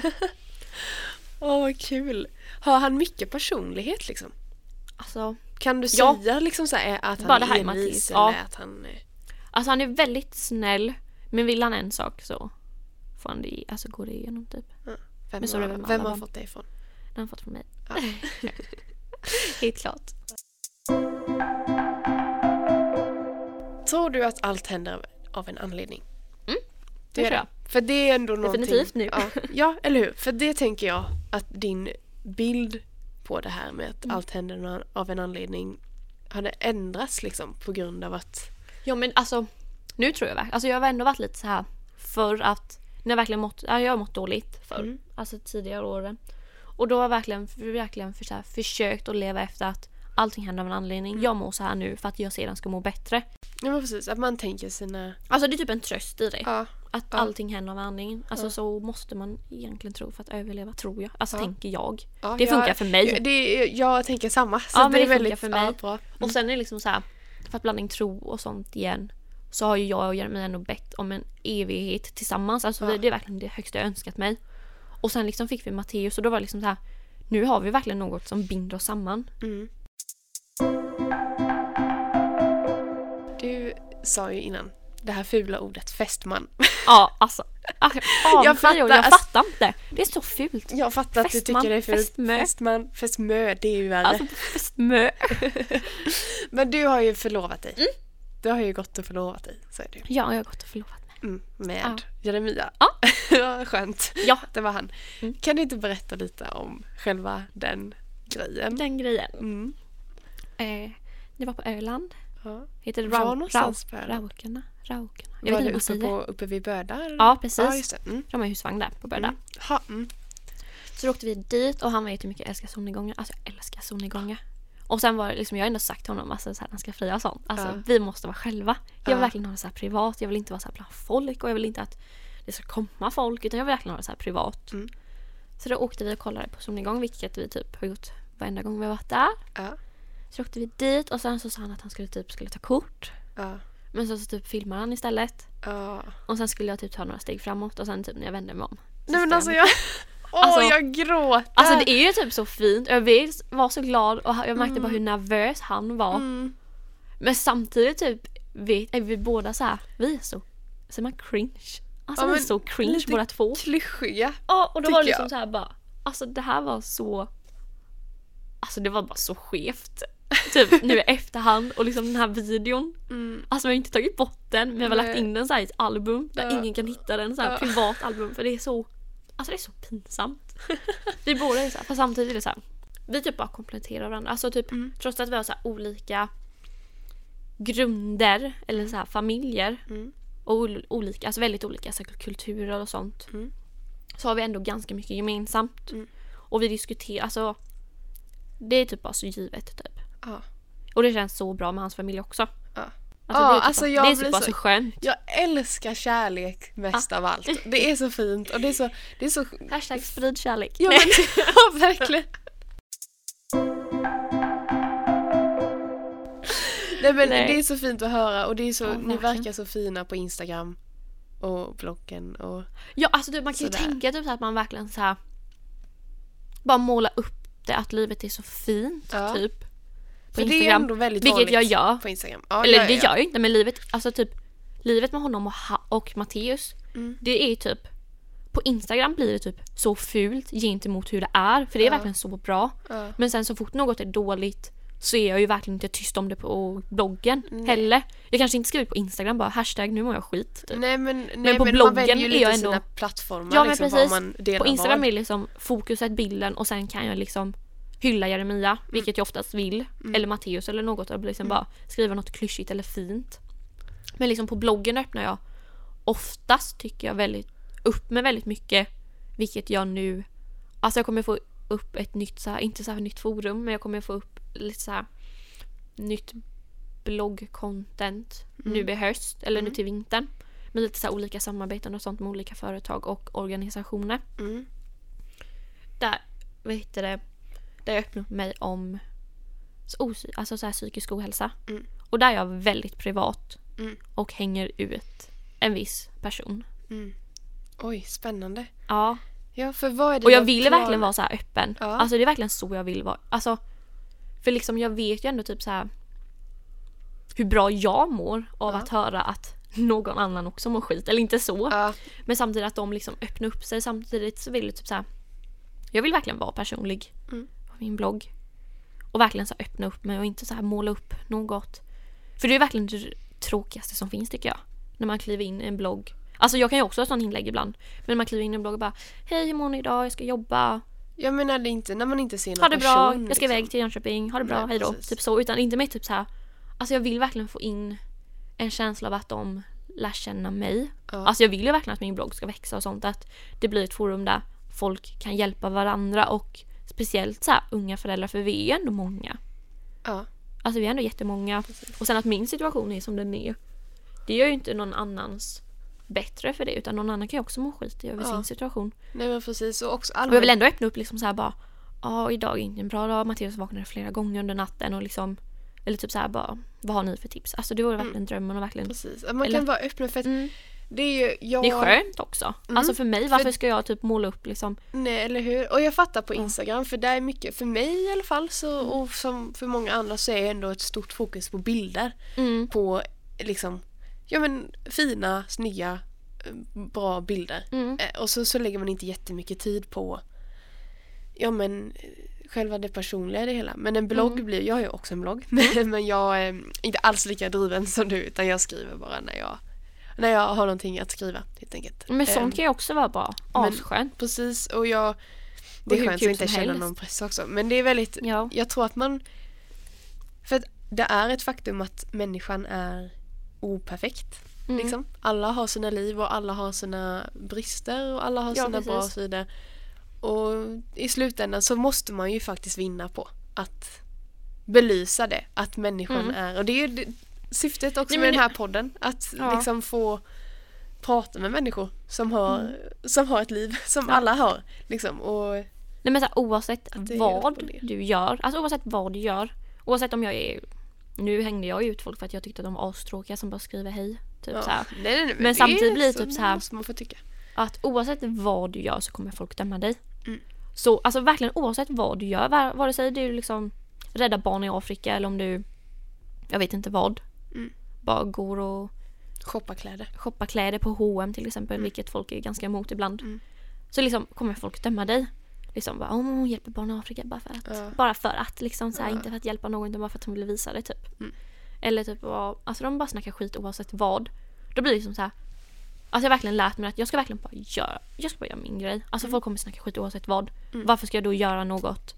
S2: Åh vad kul! Har han mycket personlighet liksom?
S3: Alltså,
S2: Kan du
S3: Ja.
S2: säga liksom så här, att han
S3: Bara det här
S2: är
S3: är
S2: envis
S3: Mattias,
S2: eller
S3: ja.
S2: att han... eh,
S3: alltså han är väldigt snäll men vill han en sak så får han det, alltså går det igenom typ.
S2: Vem,
S3: Men så är
S2: har,
S3: det väl med
S2: vem
S3: alla
S2: har
S3: barn.
S2: fått det ifrån?
S3: Den har han fått från mig. [laughs] Helt klart.
S2: Tror du att allt händer av- av en anledning?
S3: det tror
S2: För det är ändå någonting...
S3: Definitivt nu.
S2: Ja, ja, eller hur? För det tänker jag att din bild på det här med
S3: Mm.
S2: att allt händer na- av en anledning hade ändrats liksom på grund av att
S3: Ja men alltså, nu tror jag verkligen, alltså jag har ändå varit lite så här för att när jag verkligen mått, ja, jag har mått dåligt förr,
S2: Mm.
S3: alltså tidigare åren. Och då har jag verkligen, verkligen för så här, försökt att leva efter att allting händer av en anledning.
S2: Mm.
S3: Jag mår så här nu för att jag sedan ska må bättre.
S2: Ja men precis, att man tänker sina...
S3: Alltså det är typ en tröst i det.
S2: Ja.
S3: Att
S2: Ja.
S3: allting händer av en anledning. Alltså så måste man egentligen tro för att överleva, tror jag. Alltså
S2: Ja.
S3: tänker jag.
S2: ja
S3: det funkar
S2: jag,
S3: för mig.
S2: Jag, det, jag tänker samma. Så
S3: Ja, men
S2: det är
S3: typ, det funkar
S2: väldigt
S3: för mig.
S2: Ja, bra.
S3: Och sen är det liksom så här, för att blanda in tro och sånt igen. Så har ju jag och Jeremy ändå bett om en evighet tillsammans. Alltså vi,
S2: Ja.
S3: det är verkligen det högsta jag önskat mig. Och sen liksom fick vi Matteus och då var det liksom så här. Nu har vi verkligen något som binder oss samman.
S2: Mm. Du sa ju innan det här fula ordet fästman.
S3: Ja alltså. ach, [laughs] Jag fattar, alltså. jag,
S2: fattar,
S3: jag
S2: ass-
S3: fattar inte. Det är så
S2: [laughs]
S3: fult.
S2: Jag fattar att du
S3: Fästman,
S2: tycker det är fult.
S3: fästmö.
S2: Fästman, fästmö, det är ju värre.
S3: Alltså fästmö.
S2: Men du har ju förlovat dig.
S3: Mm.
S2: Du har ju gått och förlovat dig, säger du.
S3: Ja, jag har gått och förlovat mig.
S2: Mm, med
S3: Ja.
S2: Jeremia.
S3: Ja.
S2: [laughs] Ja. Skönt.
S3: Ja, Mm.
S2: Det var han. Kan du inte berätta lite om själva den grejen?
S3: den grejen.
S2: Mm.
S3: Eh, det var på Öland.
S2: Ja.
S3: Heter det
S2: Var
S3: Rau-
S2: någonstans på
S3: Rau-
S2: Öland?
S3: Raukarna? Raukarna. Jag
S2: Var
S3: vet
S2: det
S3: inte hur
S2: uppe,
S3: man säger.
S2: på, uppe vid Böda? eller?
S3: Ja, precis.
S2: Ja, just det. Mm.
S3: De har husvagn där på Böda.
S2: Mm. Ha, mm.
S3: Så då åkte vi dit och han vet hur mycket jag älskar solnedgångar. Alltså jag älskar solnedgångar. Och sen var det liksom, jag har ändå sagt till honom alltså, så här, han ska fria och sånt. Alltså
S2: Ja.
S3: vi måste vara själva. Jag vill
S2: Ja.
S3: verkligen ha det så här privat. Jag vill inte vara så här bland folk och jag vill inte att det ska komma folk. Utan jag vill verkligen ha det så här privat.
S2: Mm.
S3: Så då åkte vi och kollade på solnedgång vilket vi typ har gjort varenda gång vi har varit där.
S2: Ja.
S3: Så åkte vi dit och sen så sa han att han skulle typ skulle ta kort.
S2: Ja.
S3: Men sen så typ filmade han istället.
S2: Ja.
S3: Och sen skulle jag typ ta några steg framåt och sen typ när jag vände mig om. så
S2: Nej men
S3: stod
S2: alltså
S3: han-
S2: jag... Åh,
S3: [laughs] Alltså-
S2: jag gråter!
S3: Alltså det är ju typ så fint. Jag vill- var så glad och jag märkte bara hur nervös han var.
S2: Mm.
S3: Men samtidigt typ vi, är vi båda så här, vi är så, säger man cringe? Alltså
S2: Ja,
S3: vi är
S2: men
S3: så cringe
S2: lite
S3: båda två.
S2: Klyschiga.
S3: Ja och då var
S2: tycker
S3: det liksom
S2: jag.
S3: så här bara, alltså det här var så, alltså det var bara så skevt. Typ nu i efterhand och liksom den här videon.
S2: Mm.
S3: Alltså vi har inte tagit bort den men vi har lagt
S2: Nej.
S3: in den så här i ett album där
S2: Ja.
S3: ingen kan hitta den. Så här
S2: Ja.
S3: privat album för det är så Alltså det är så
S2: [laughs]
S3: pinsamt. vi båda är så här, fast samtidigt är det så här. Vi typ bara kompletterar varandra. Alltså typ
S2: Mm.
S3: trots att vi har så här olika grunder eller så här familjer
S2: Mm.
S3: och ol- olika, alltså väldigt olika så här, kulturer och sånt.
S2: Mm.
S3: Så har vi ändå ganska mycket gemensamt.
S2: Mm.
S3: Och vi diskuterar, alltså det är typ bara så givet typ.
S2: Ja.
S3: Och det känns så bra med hans familj också.
S2: Ja.
S3: Alltså,
S2: Ja,
S3: det är typ,
S2: alltså,
S3: bara,
S2: jag
S3: det är
S2: blir
S3: typ bara
S2: så-
S3: så skönt.
S2: Jag älskar kärlek mest av allt. Det är så fint och det är så... Det är så
S3: Hashtag sprid kärlek.
S2: ja,
S3: Nej.
S2: men,
S3: [laughs]
S2: ja, verkligen. Nej men
S3: Nej.
S2: det är så fint att höra och det är så,
S3: Ja,
S2: ni
S3: verkligen.
S2: verkar så fina på Instagram och bloggen och...
S3: Ja, alltså typ, man kan ju
S2: Sådär.
S3: tänka typ, så att man verkligen så här, bara måla upp det, att livet är så fint.
S2: Ja.
S3: Typ, på
S2: För det är
S3: Instagram.
S2: ändå väldigt vanligt
S3: vilket jag gör.
S2: på Instagram. Ja,
S3: Eller
S2: ja, ja,
S3: det
S2: ja.
S3: gör jag inte, men livet, alltså typ, livet med honom och, ha- och Matteus,
S2: Mm.
S3: det är ju typ på Instagram blir det typ så fult gentemot hur det är, för det
S2: Ja.
S3: är verkligen så bra.
S2: Ja.
S3: Men sen så fort något är dåligt så är jag ju verkligen inte tyst om det på bloggen heller. Jag kanske inte skriver på Instagram bara hashtag nu mår jag skit. Typ.
S2: Nej men, nej,
S3: på
S2: men
S3: bloggen
S2: man väljer ju
S3: är
S2: lite
S3: jag
S2: sina
S3: ändå-
S2: plattformar.
S3: Ja men
S2: liksom, vad
S3: precis.
S2: Man delar
S3: På Instagram
S2: vad.
S3: är liksom fokuset bilden och sen kan jag liksom hylla Jeremia,
S2: Mm.
S3: vilket jag oftast vill. Eller Matteus eller något. Och liksom bara skriva något klyschigt eller fint. Men liksom på bloggen öppnar jag oftast tycker jag väldigt upp med väldigt mycket. Vilket jag nu... Alltså jag kommer få upp ett nytt, så här, inte så här nytt forum, men jag kommer få upp lite så här nytt bloggcontent
S2: Mm.
S3: nu i höst eller nu till vintern. Med lite så här olika samarbeten och sånt med olika företag och organisationer.
S2: Mm.
S3: Där, vad heter det, där jag öppnade upp mig om så osy- alltså så här psykisk ohälsa.
S2: Mm.
S3: Och där är jag väldigt privat
S2: Mm.
S3: och hänger ut en viss person.
S2: Oj, spännande.
S3: Ja,
S2: Ja, för vad är det
S3: och jag vill verkligen vara så här öppen.
S2: Ja.
S3: Alltså det är verkligen så jag vill vara. Alltså, för liksom jag vet ju ändå typ så här hur bra jag mår av
S2: Ja.
S3: att höra att någon annan också mår skit. Eller inte så.
S2: Ja,
S3: Men samtidigt att de liksom öppnar upp sig. Samtidigt så vill jag typ så här. Jag vill verkligen vara personlig
S2: Mm.
S3: på min blogg. Och verkligen så här öppna upp mig och inte så här måla upp något. För det är verkligen det tråkigaste som finns tycker jag. När man kliver in i en blogg. Alltså jag kan ju också ha sån inlägg ibland. Men när man kliver in i en blogg och bara Hej hur mår ni idag? Jag ska jobba.
S2: Jag menar det är inte när man inte ser någon
S3: Ha det
S2: person.
S3: bra, jag ska
S2: liksom.
S3: iväg till Jönköping, ha det bra,
S2: Nej,
S3: hejdå.
S2: precis.
S3: Typ så, utan inte mer typ så här. Alltså jag vill verkligen få in en känsla av att de lär känna mig.
S2: Ja.
S3: Alltså jag vill ju verkligen att min blogg ska växa och sånt. Att det blir ett forum där folk kan hjälpa varandra och speciellt så här unga föräldrar för vi är ju ändå många.
S2: Ja.
S3: Alltså vi är ändå jättemånga. Och sen att min situation är som den är. Det gör ju inte någon annans bättre för det utan någon annan kan ju också må skit i över
S2: Ja.
S3: sin situation.
S2: Nej men precis och också
S3: Och jag vill
S2: allmänt.
S3: ändå öppna upp liksom så här bara Ja, idag är inte en bra dag. Mattias vaknade flera gånger under natten och liksom Eller typ så här bara Vad har ni för tips? Alltså det vore verkligen drömmen och verkligen
S2: Precis. Att Man
S3: Eller-
S2: kan vara öppen för att
S3: Mm.
S2: det är ju jag.
S3: Det är skönt också.
S2: Mm.
S3: Alltså för mig, varför ska jag typ måla upp liksom
S2: Nej eller hur. Och jag fattar på Instagram för där är mycket, för mig i alla fall så,
S3: Mm.
S2: och som för många andra så är det ändå ett stort fokus på bilder.
S3: mm.
S2: På liksom, ja men fina, snygga, eh, bra bilder.
S3: Mm.
S2: Eh, Och så, så lägger man inte jättemycket tid på ja men eh, själva det personliga i det hela. Men en
S3: Mm.
S2: blogg blir, jag har ju också en blogg, [laughs] men jag är inte alls lika driven [laughs] som du utan jag skriver bara när jag, när jag har någonting att skriva helt enkelt.
S3: Men
S2: Ehm,
S3: sånt kan ju också vara bra.
S2: men-
S3: Asskönt.
S2: Precis och jag, det är
S3: Och hur
S2: skönt
S3: kul
S2: att inte
S3: som
S2: känna
S3: helst.
S2: någon press också men det är väldigt,
S3: Ja.
S2: jag tror att man, för att det är ett faktum att människan är operfekt.
S3: Mm.
S2: Liksom. Alla har sina liv och alla har sina brister och alla har
S3: Ja,
S2: sina bra
S3: precis.
S2: sidor. Och i slutändan så måste man ju faktiskt vinna på att belysa det, att människan
S3: Mm.
S2: är, och det är ju det, syftet också
S3: Nej,
S2: med
S3: men-
S2: den här podden, att
S3: Ja.
S2: liksom få prata med människor som har,
S3: Mm.
S2: som har ett liv som alla har. Liksom. Och,
S3: Nej men så här, oavsett
S2: det är upp och
S3: vad
S2: ner.
S3: du gör, alltså oavsett vad du gör. Oavsett om jag är... Nu hängde jag ut folk för att jag tyckte att de var astråkiga som bara skriver hej. Typ
S2: ja.
S3: så här.
S2: Nej, nej, nej,
S3: Men samtidigt blir det typ så här-
S2: måste man få tycka.
S3: Att oavsett vad du gör så kommer folk döma dig.
S2: Mm.
S3: Så alltså verkligen oavsett vad du gör, va- vare sig du liksom räddar barn i Afrika eller om du, jag vet inte vad.
S2: Mm.
S3: Bara går och
S2: Shoppa kläder.
S3: shoppar kläder på H&M till exempel, vilket folk är ganska emot ibland.
S2: Mm.
S3: Så liksom kommer folk döma dig. Liksom bara, om hon hjälper barn i Afrika bara för att.
S2: Ja.
S3: Bara för att liksom, så här,
S2: Ja.
S3: inte för att hjälpa någon utan bara för att hon vill visa det typ.
S2: Mm.
S3: Eller typ, vad- alltså de bara snackar skit oavsett vad. Då blir det liksom så här. Alltså jag har verkligen lärt mig att jag ska verkligen bara göra, jag ska bara göra min grej.
S2: Mm.
S3: Alltså folk kommer snacka skit oavsett vad. Varför ska jag då göra något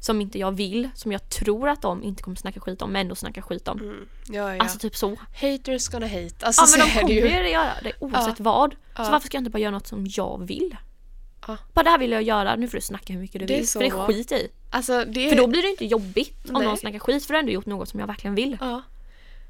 S3: som inte jag vill, som jag tror att de inte kommer snacka skit om men ändå snackar skit om.
S2: Mm. Ja, ja.
S3: Alltså typ så.
S2: Haters gonna hate. Alltså,
S3: Ja men
S2: så
S3: de
S2: är det
S3: kommer ju
S2: ju.
S3: göra det oavsett vad.
S2: Ja.
S3: Så varför ska jag inte bara göra något som jag vill?
S2: Ja.
S3: Bara det här vill jag göra, nu får du snacka hur mycket du
S2: Det är
S3: vill.
S2: så
S3: För det
S2: bra.
S3: är skit i.
S2: Alltså, det är...
S3: För då blir det inte jobbigt om
S2: Nej.
S3: någon snackar skit för du har ändå gjort något som jag verkligen vill.
S2: Ja.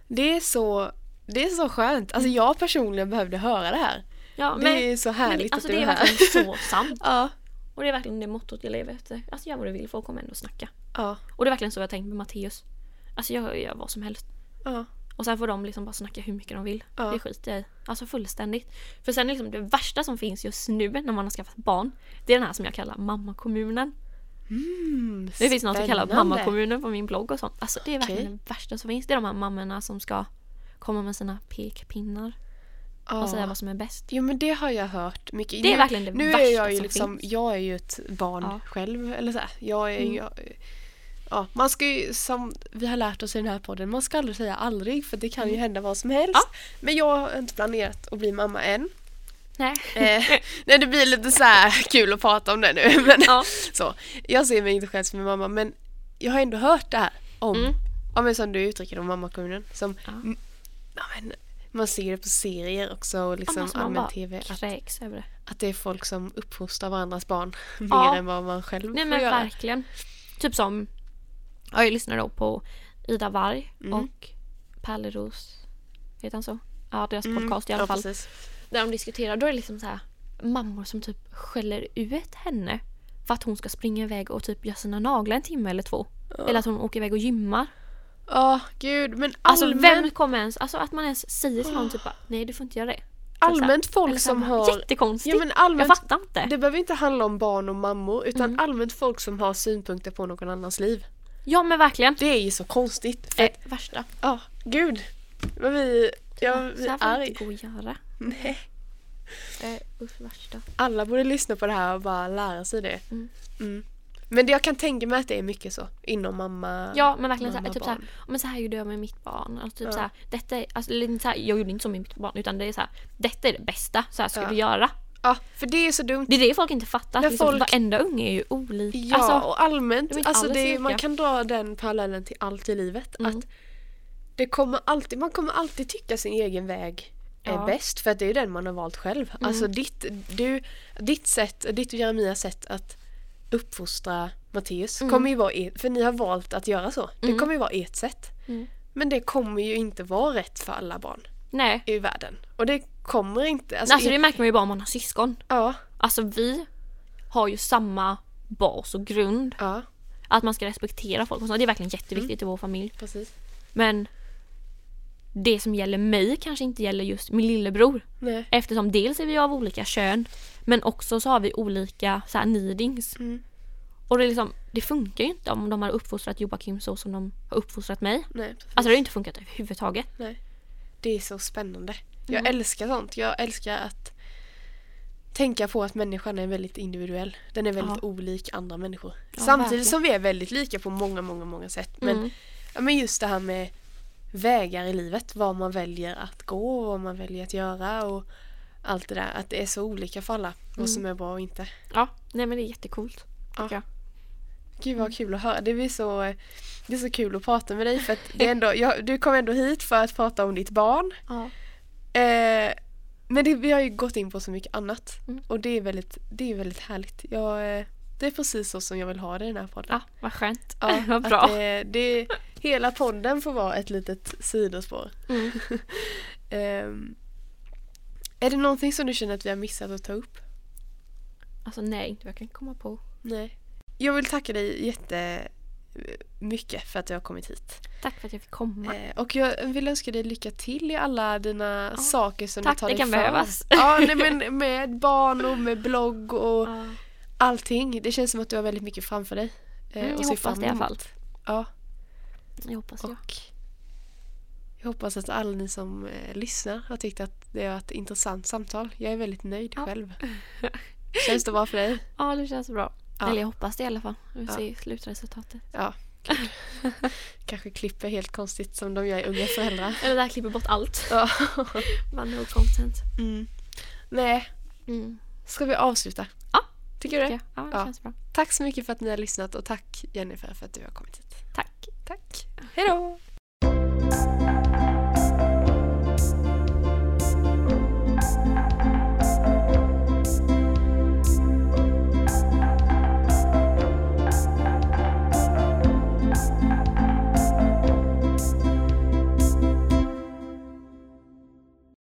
S2: Det är så, det är så skönt. Alltså
S3: Mm.
S2: jag personligen behövde höra det här.
S3: Ja,
S2: Det är så
S3: men
S2: härligt
S3: det, alltså,
S2: att
S3: det
S2: du
S3: är
S2: är här. [laughs]
S3: verkligen så sant.
S2: Ja.
S3: Och det är verkligen det mottot jag lever efter. Alltså gör vad du vill, folk kommer ändå snacka.
S2: Ja.
S3: Och det är verkligen så jag tänkt med Matteus. Alltså jag gör vad som helst.
S2: Ja.
S3: Och sen får de liksom bara snacka hur mycket de vill.
S2: Ja.
S3: Det skiter jag i. Alltså fullständigt. För sen liksom det värsta som finns just nu när man har skaffat barn. Det är den här som jag kallar mammakommunen.
S2: Mm,
S3: Det finns något jag kallar
S2: spännande.
S3: mammakommunen på min blogg och sånt. Alltså det är verkligen
S2: Okej.
S3: det värsta som finns. Det är de här mammorna som ska komma med sina pekpinnar och säga
S2: Ja.
S3: vad som är bäst.
S2: Jo men det har jag hört mycket.
S3: Det är
S2: Nu-
S3: verkligen det
S2: Nu
S3: värsta
S2: är jag ju
S3: som
S2: liksom,
S3: finns.
S2: jag är ju ett barn
S3: Ja. Mm.
S2: själv. Eller så här. Jag är ju... Ja, man ska ju, som vi har lärt oss i den här podden, man ska aldrig säga aldrig för det kan ju hända vad som helst.
S3: Mm. Ja.
S2: Men jag har inte planerat att bli mamma
S3: [laughs]
S2: än.
S3: Nej.
S2: Eh, nej, det blir lite så här kul att prata om det nu. [laughs] Men,
S3: Ja.
S2: så. Jag ser mig inte själv som en mamma, men jag har ändå hört det här om,
S3: Mm.
S2: ja, men som du uttrycker det, om mammakommunen. Som,
S3: Ja.
S2: mm, ja, men, man ser det på serier också och
S3: Ja, men
S2: liksom
S3: alltså man
S2: allmän
S3: bara
S2: tv. Att,
S3: kräks över det.
S2: att det är folk som uppfostrar varandras barn [laughs]
S3: Ja.
S2: mer än vad man själv
S3: Nej
S2: får
S3: men
S2: göra.
S3: verkligen. Typ som, ja, jag lyssnar då på Ida Warg
S2: Mm.
S3: och Pärleros, heter han så? Ja deras podcast i
S2: Mm.
S3: alla
S2: ja,
S3: fall.
S2: Precis.
S3: Där de diskuterar, då är det liksom så här mammor som typ skäller ut henne för att hon ska springa iväg och typ göra sina naglar en timme eller två. Eller att hon åker iväg och gymmar.
S2: Ja, gud. Men
S3: Alltså
S2: allmän,
S3: vem kommer ens, alltså att man ens säger till någon typ bara, nej du får inte göra det. Typ så här.
S2: allmänt folk
S3: Eller så här
S2: som
S3: bara,
S2: har...
S3: Jättekonstigt.
S2: Ja, men allmänt,
S3: jag fattar Mm. inte.
S2: Det behöver inte handla om barn och mammor utan allmänt folk som har synpunkter på någon annans liv.
S3: Ja men verkligen.
S2: Det är ju så konstigt. För
S3: Eh,
S2: att,
S3: värsta.
S2: ja, gud. Men vi, ja, vi
S3: så här
S2: är
S3: får man
S2: arg.
S3: inte gå och göra.
S2: Nej.
S3: Eh, usch värsta.
S2: Alla borde lyssna på det här och bara lära sig det.
S3: Mm.
S2: Mm. Men det, jag kan tänka mig att det är mycket så inom mamma.
S3: Ja men verkligen
S2: mamma,
S3: såhär, typ
S2: barn.
S3: såhär, men så här gjorde jag med mitt barn. Alltså, typ
S2: Ja.
S3: så såhär, detta är, alltså, eller inte såhär, jag gjorde inte så med mitt barn utan det är såhär, detta är det bästa, så här ska
S2: Ja.
S3: du göra.
S2: Ja, för det är så dumt.
S3: Det är det folk inte fattar.
S2: När
S3: att Liksom,
S2: folk-
S3: Varenda unge är ju olika.
S2: Ja,
S3: Alltså,
S2: och allmänt.
S3: de är inte
S2: alltså
S3: alls
S2: det,
S3: lika.
S2: man kan dra den parallellen till allt i livet.
S3: Mm.
S2: Att det kommer alltid, man kommer alltid tycka sin egen väg är
S3: Ja. Mm.
S2: bäst för att det är ju den man har valt själv. Alltså ditt, du, ditt sätt, ditt och Jeremias sätt att uppfostra Matteus
S3: Mm.
S2: kommer ju vara ert, för ni har valt att göra så. Det kommer ju vara ert sätt.
S3: Mm.
S2: Men det kommer ju inte vara rätt för alla barn
S3: nej.
S2: i världen. Och det kommer inte.
S3: Alltså,
S2: i-
S3: det märker man ju bara om man har syskon.
S2: ja,
S3: Alltså vi har ju samma bas och grund.
S2: ja,
S3: Att man ska respektera folk och sånt. Det är verkligen jätteviktigt i vår familj.
S2: precis.
S3: Men det som gäller mig kanske inte gäller just min lillebror.
S2: Nej.
S3: Eftersom dels är vi av olika kön men också så har vi olika så här, needings.
S2: Mm.
S3: Och det, är liksom, det funkar ju inte om de har uppfostrat Joakim så som de har uppfostrat mig.
S2: Nej, precis.
S3: Alltså det har ju inte funkat överhuvudtaget.
S2: Det är så spännande. Jag älskar sånt. Jag älskar att tänka på att människan är väldigt individuell. Den är väldigt olik andra människor. Samtidigt
S3: verkligen.
S2: som vi är väldigt lika på många, många, många sätt. Men, ja, men just det här med vägar i livet, vad man väljer att gå och vad man väljer att göra och allt det där. Att det är så olika för alla, vad som är bra och inte.
S3: Ja, nej men det är jättecoolt.
S2: Ja.
S3: Ja.
S2: Gud vad kul att höra. Det blir så, eh, det är så kul att prata med dig för att det är ändå, jag, du kom ändå hit för att prata om ditt barn.
S3: Ja.
S2: Eh, men det, vi har ju gått in på så mycket annat.
S3: Mm.
S2: Och det är väldigt, det är väldigt härligt. Jag, eh, det är precis så som jag vill ha det i den här podden.
S3: ja, vad skönt.
S2: Ja,
S3: [laughs] vad
S2: att,
S3: bra.
S2: eh, det, hela podden får vara ett litet sidospår.
S3: Mm.
S2: [laughs] Ehm, är det någonting som du känner att vi har missat att ta upp?
S3: Alltså nej, inte vad jag kan komma på.
S2: Nej. Jag vill tacka dig jättemycket för att du har kommit hit.
S3: Tack för att jag fick komma.
S2: Eh, och jag vill önska dig lycka till i alla dina saker som du
S3: tack,
S2: tar
S3: det
S2: dig
S3: kan
S2: för.
S3: behövas.
S2: Ja, nej, men med barn och med blogg och
S3: Ja.
S2: allting. Det känns som att du har väldigt mycket framför dig. eh,
S3: Mm,
S2: och
S3: jag
S2: ser
S3: hoppas
S2: fram
S3: det i alla
S2: emot.
S3: fall.
S2: Ja,
S3: Jag hoppas det.
S2: och jag hoppas att alla ni som eh, lyssnar har tyckt att det har varit ett intressant samtal. Jag är väldigt nöjd
S3: Ja.
S2: själv.
S3: [laughs]
S2: Känns det bra för dig?
S3: Ja, det känns bra.
S2: Ja.
S3: Eller jag hoppas det i alla fall. Vi får
S2: Ja.
S3: se slutresultatet.
S2: Ja. kul. Kanske klipper helt konstigt som de gör i Unga föräldrar.
S3: Eller där klipper bort allt.
S2: Ja.
S3: Bara no content.
S2: [laughs] Mm. Nej,
S3: Mm.
S2: ska vi avsluta?
S3: Ja,
S2: Tycker du det?
S3: Ja, ja, det
S2: Ja.
S3: känns bra.
S2: Tack så mycket för att ni har lyssnat och tack Jennifer för att du har kommit hit.
S3: Tack.
S2: Tack. Hej då!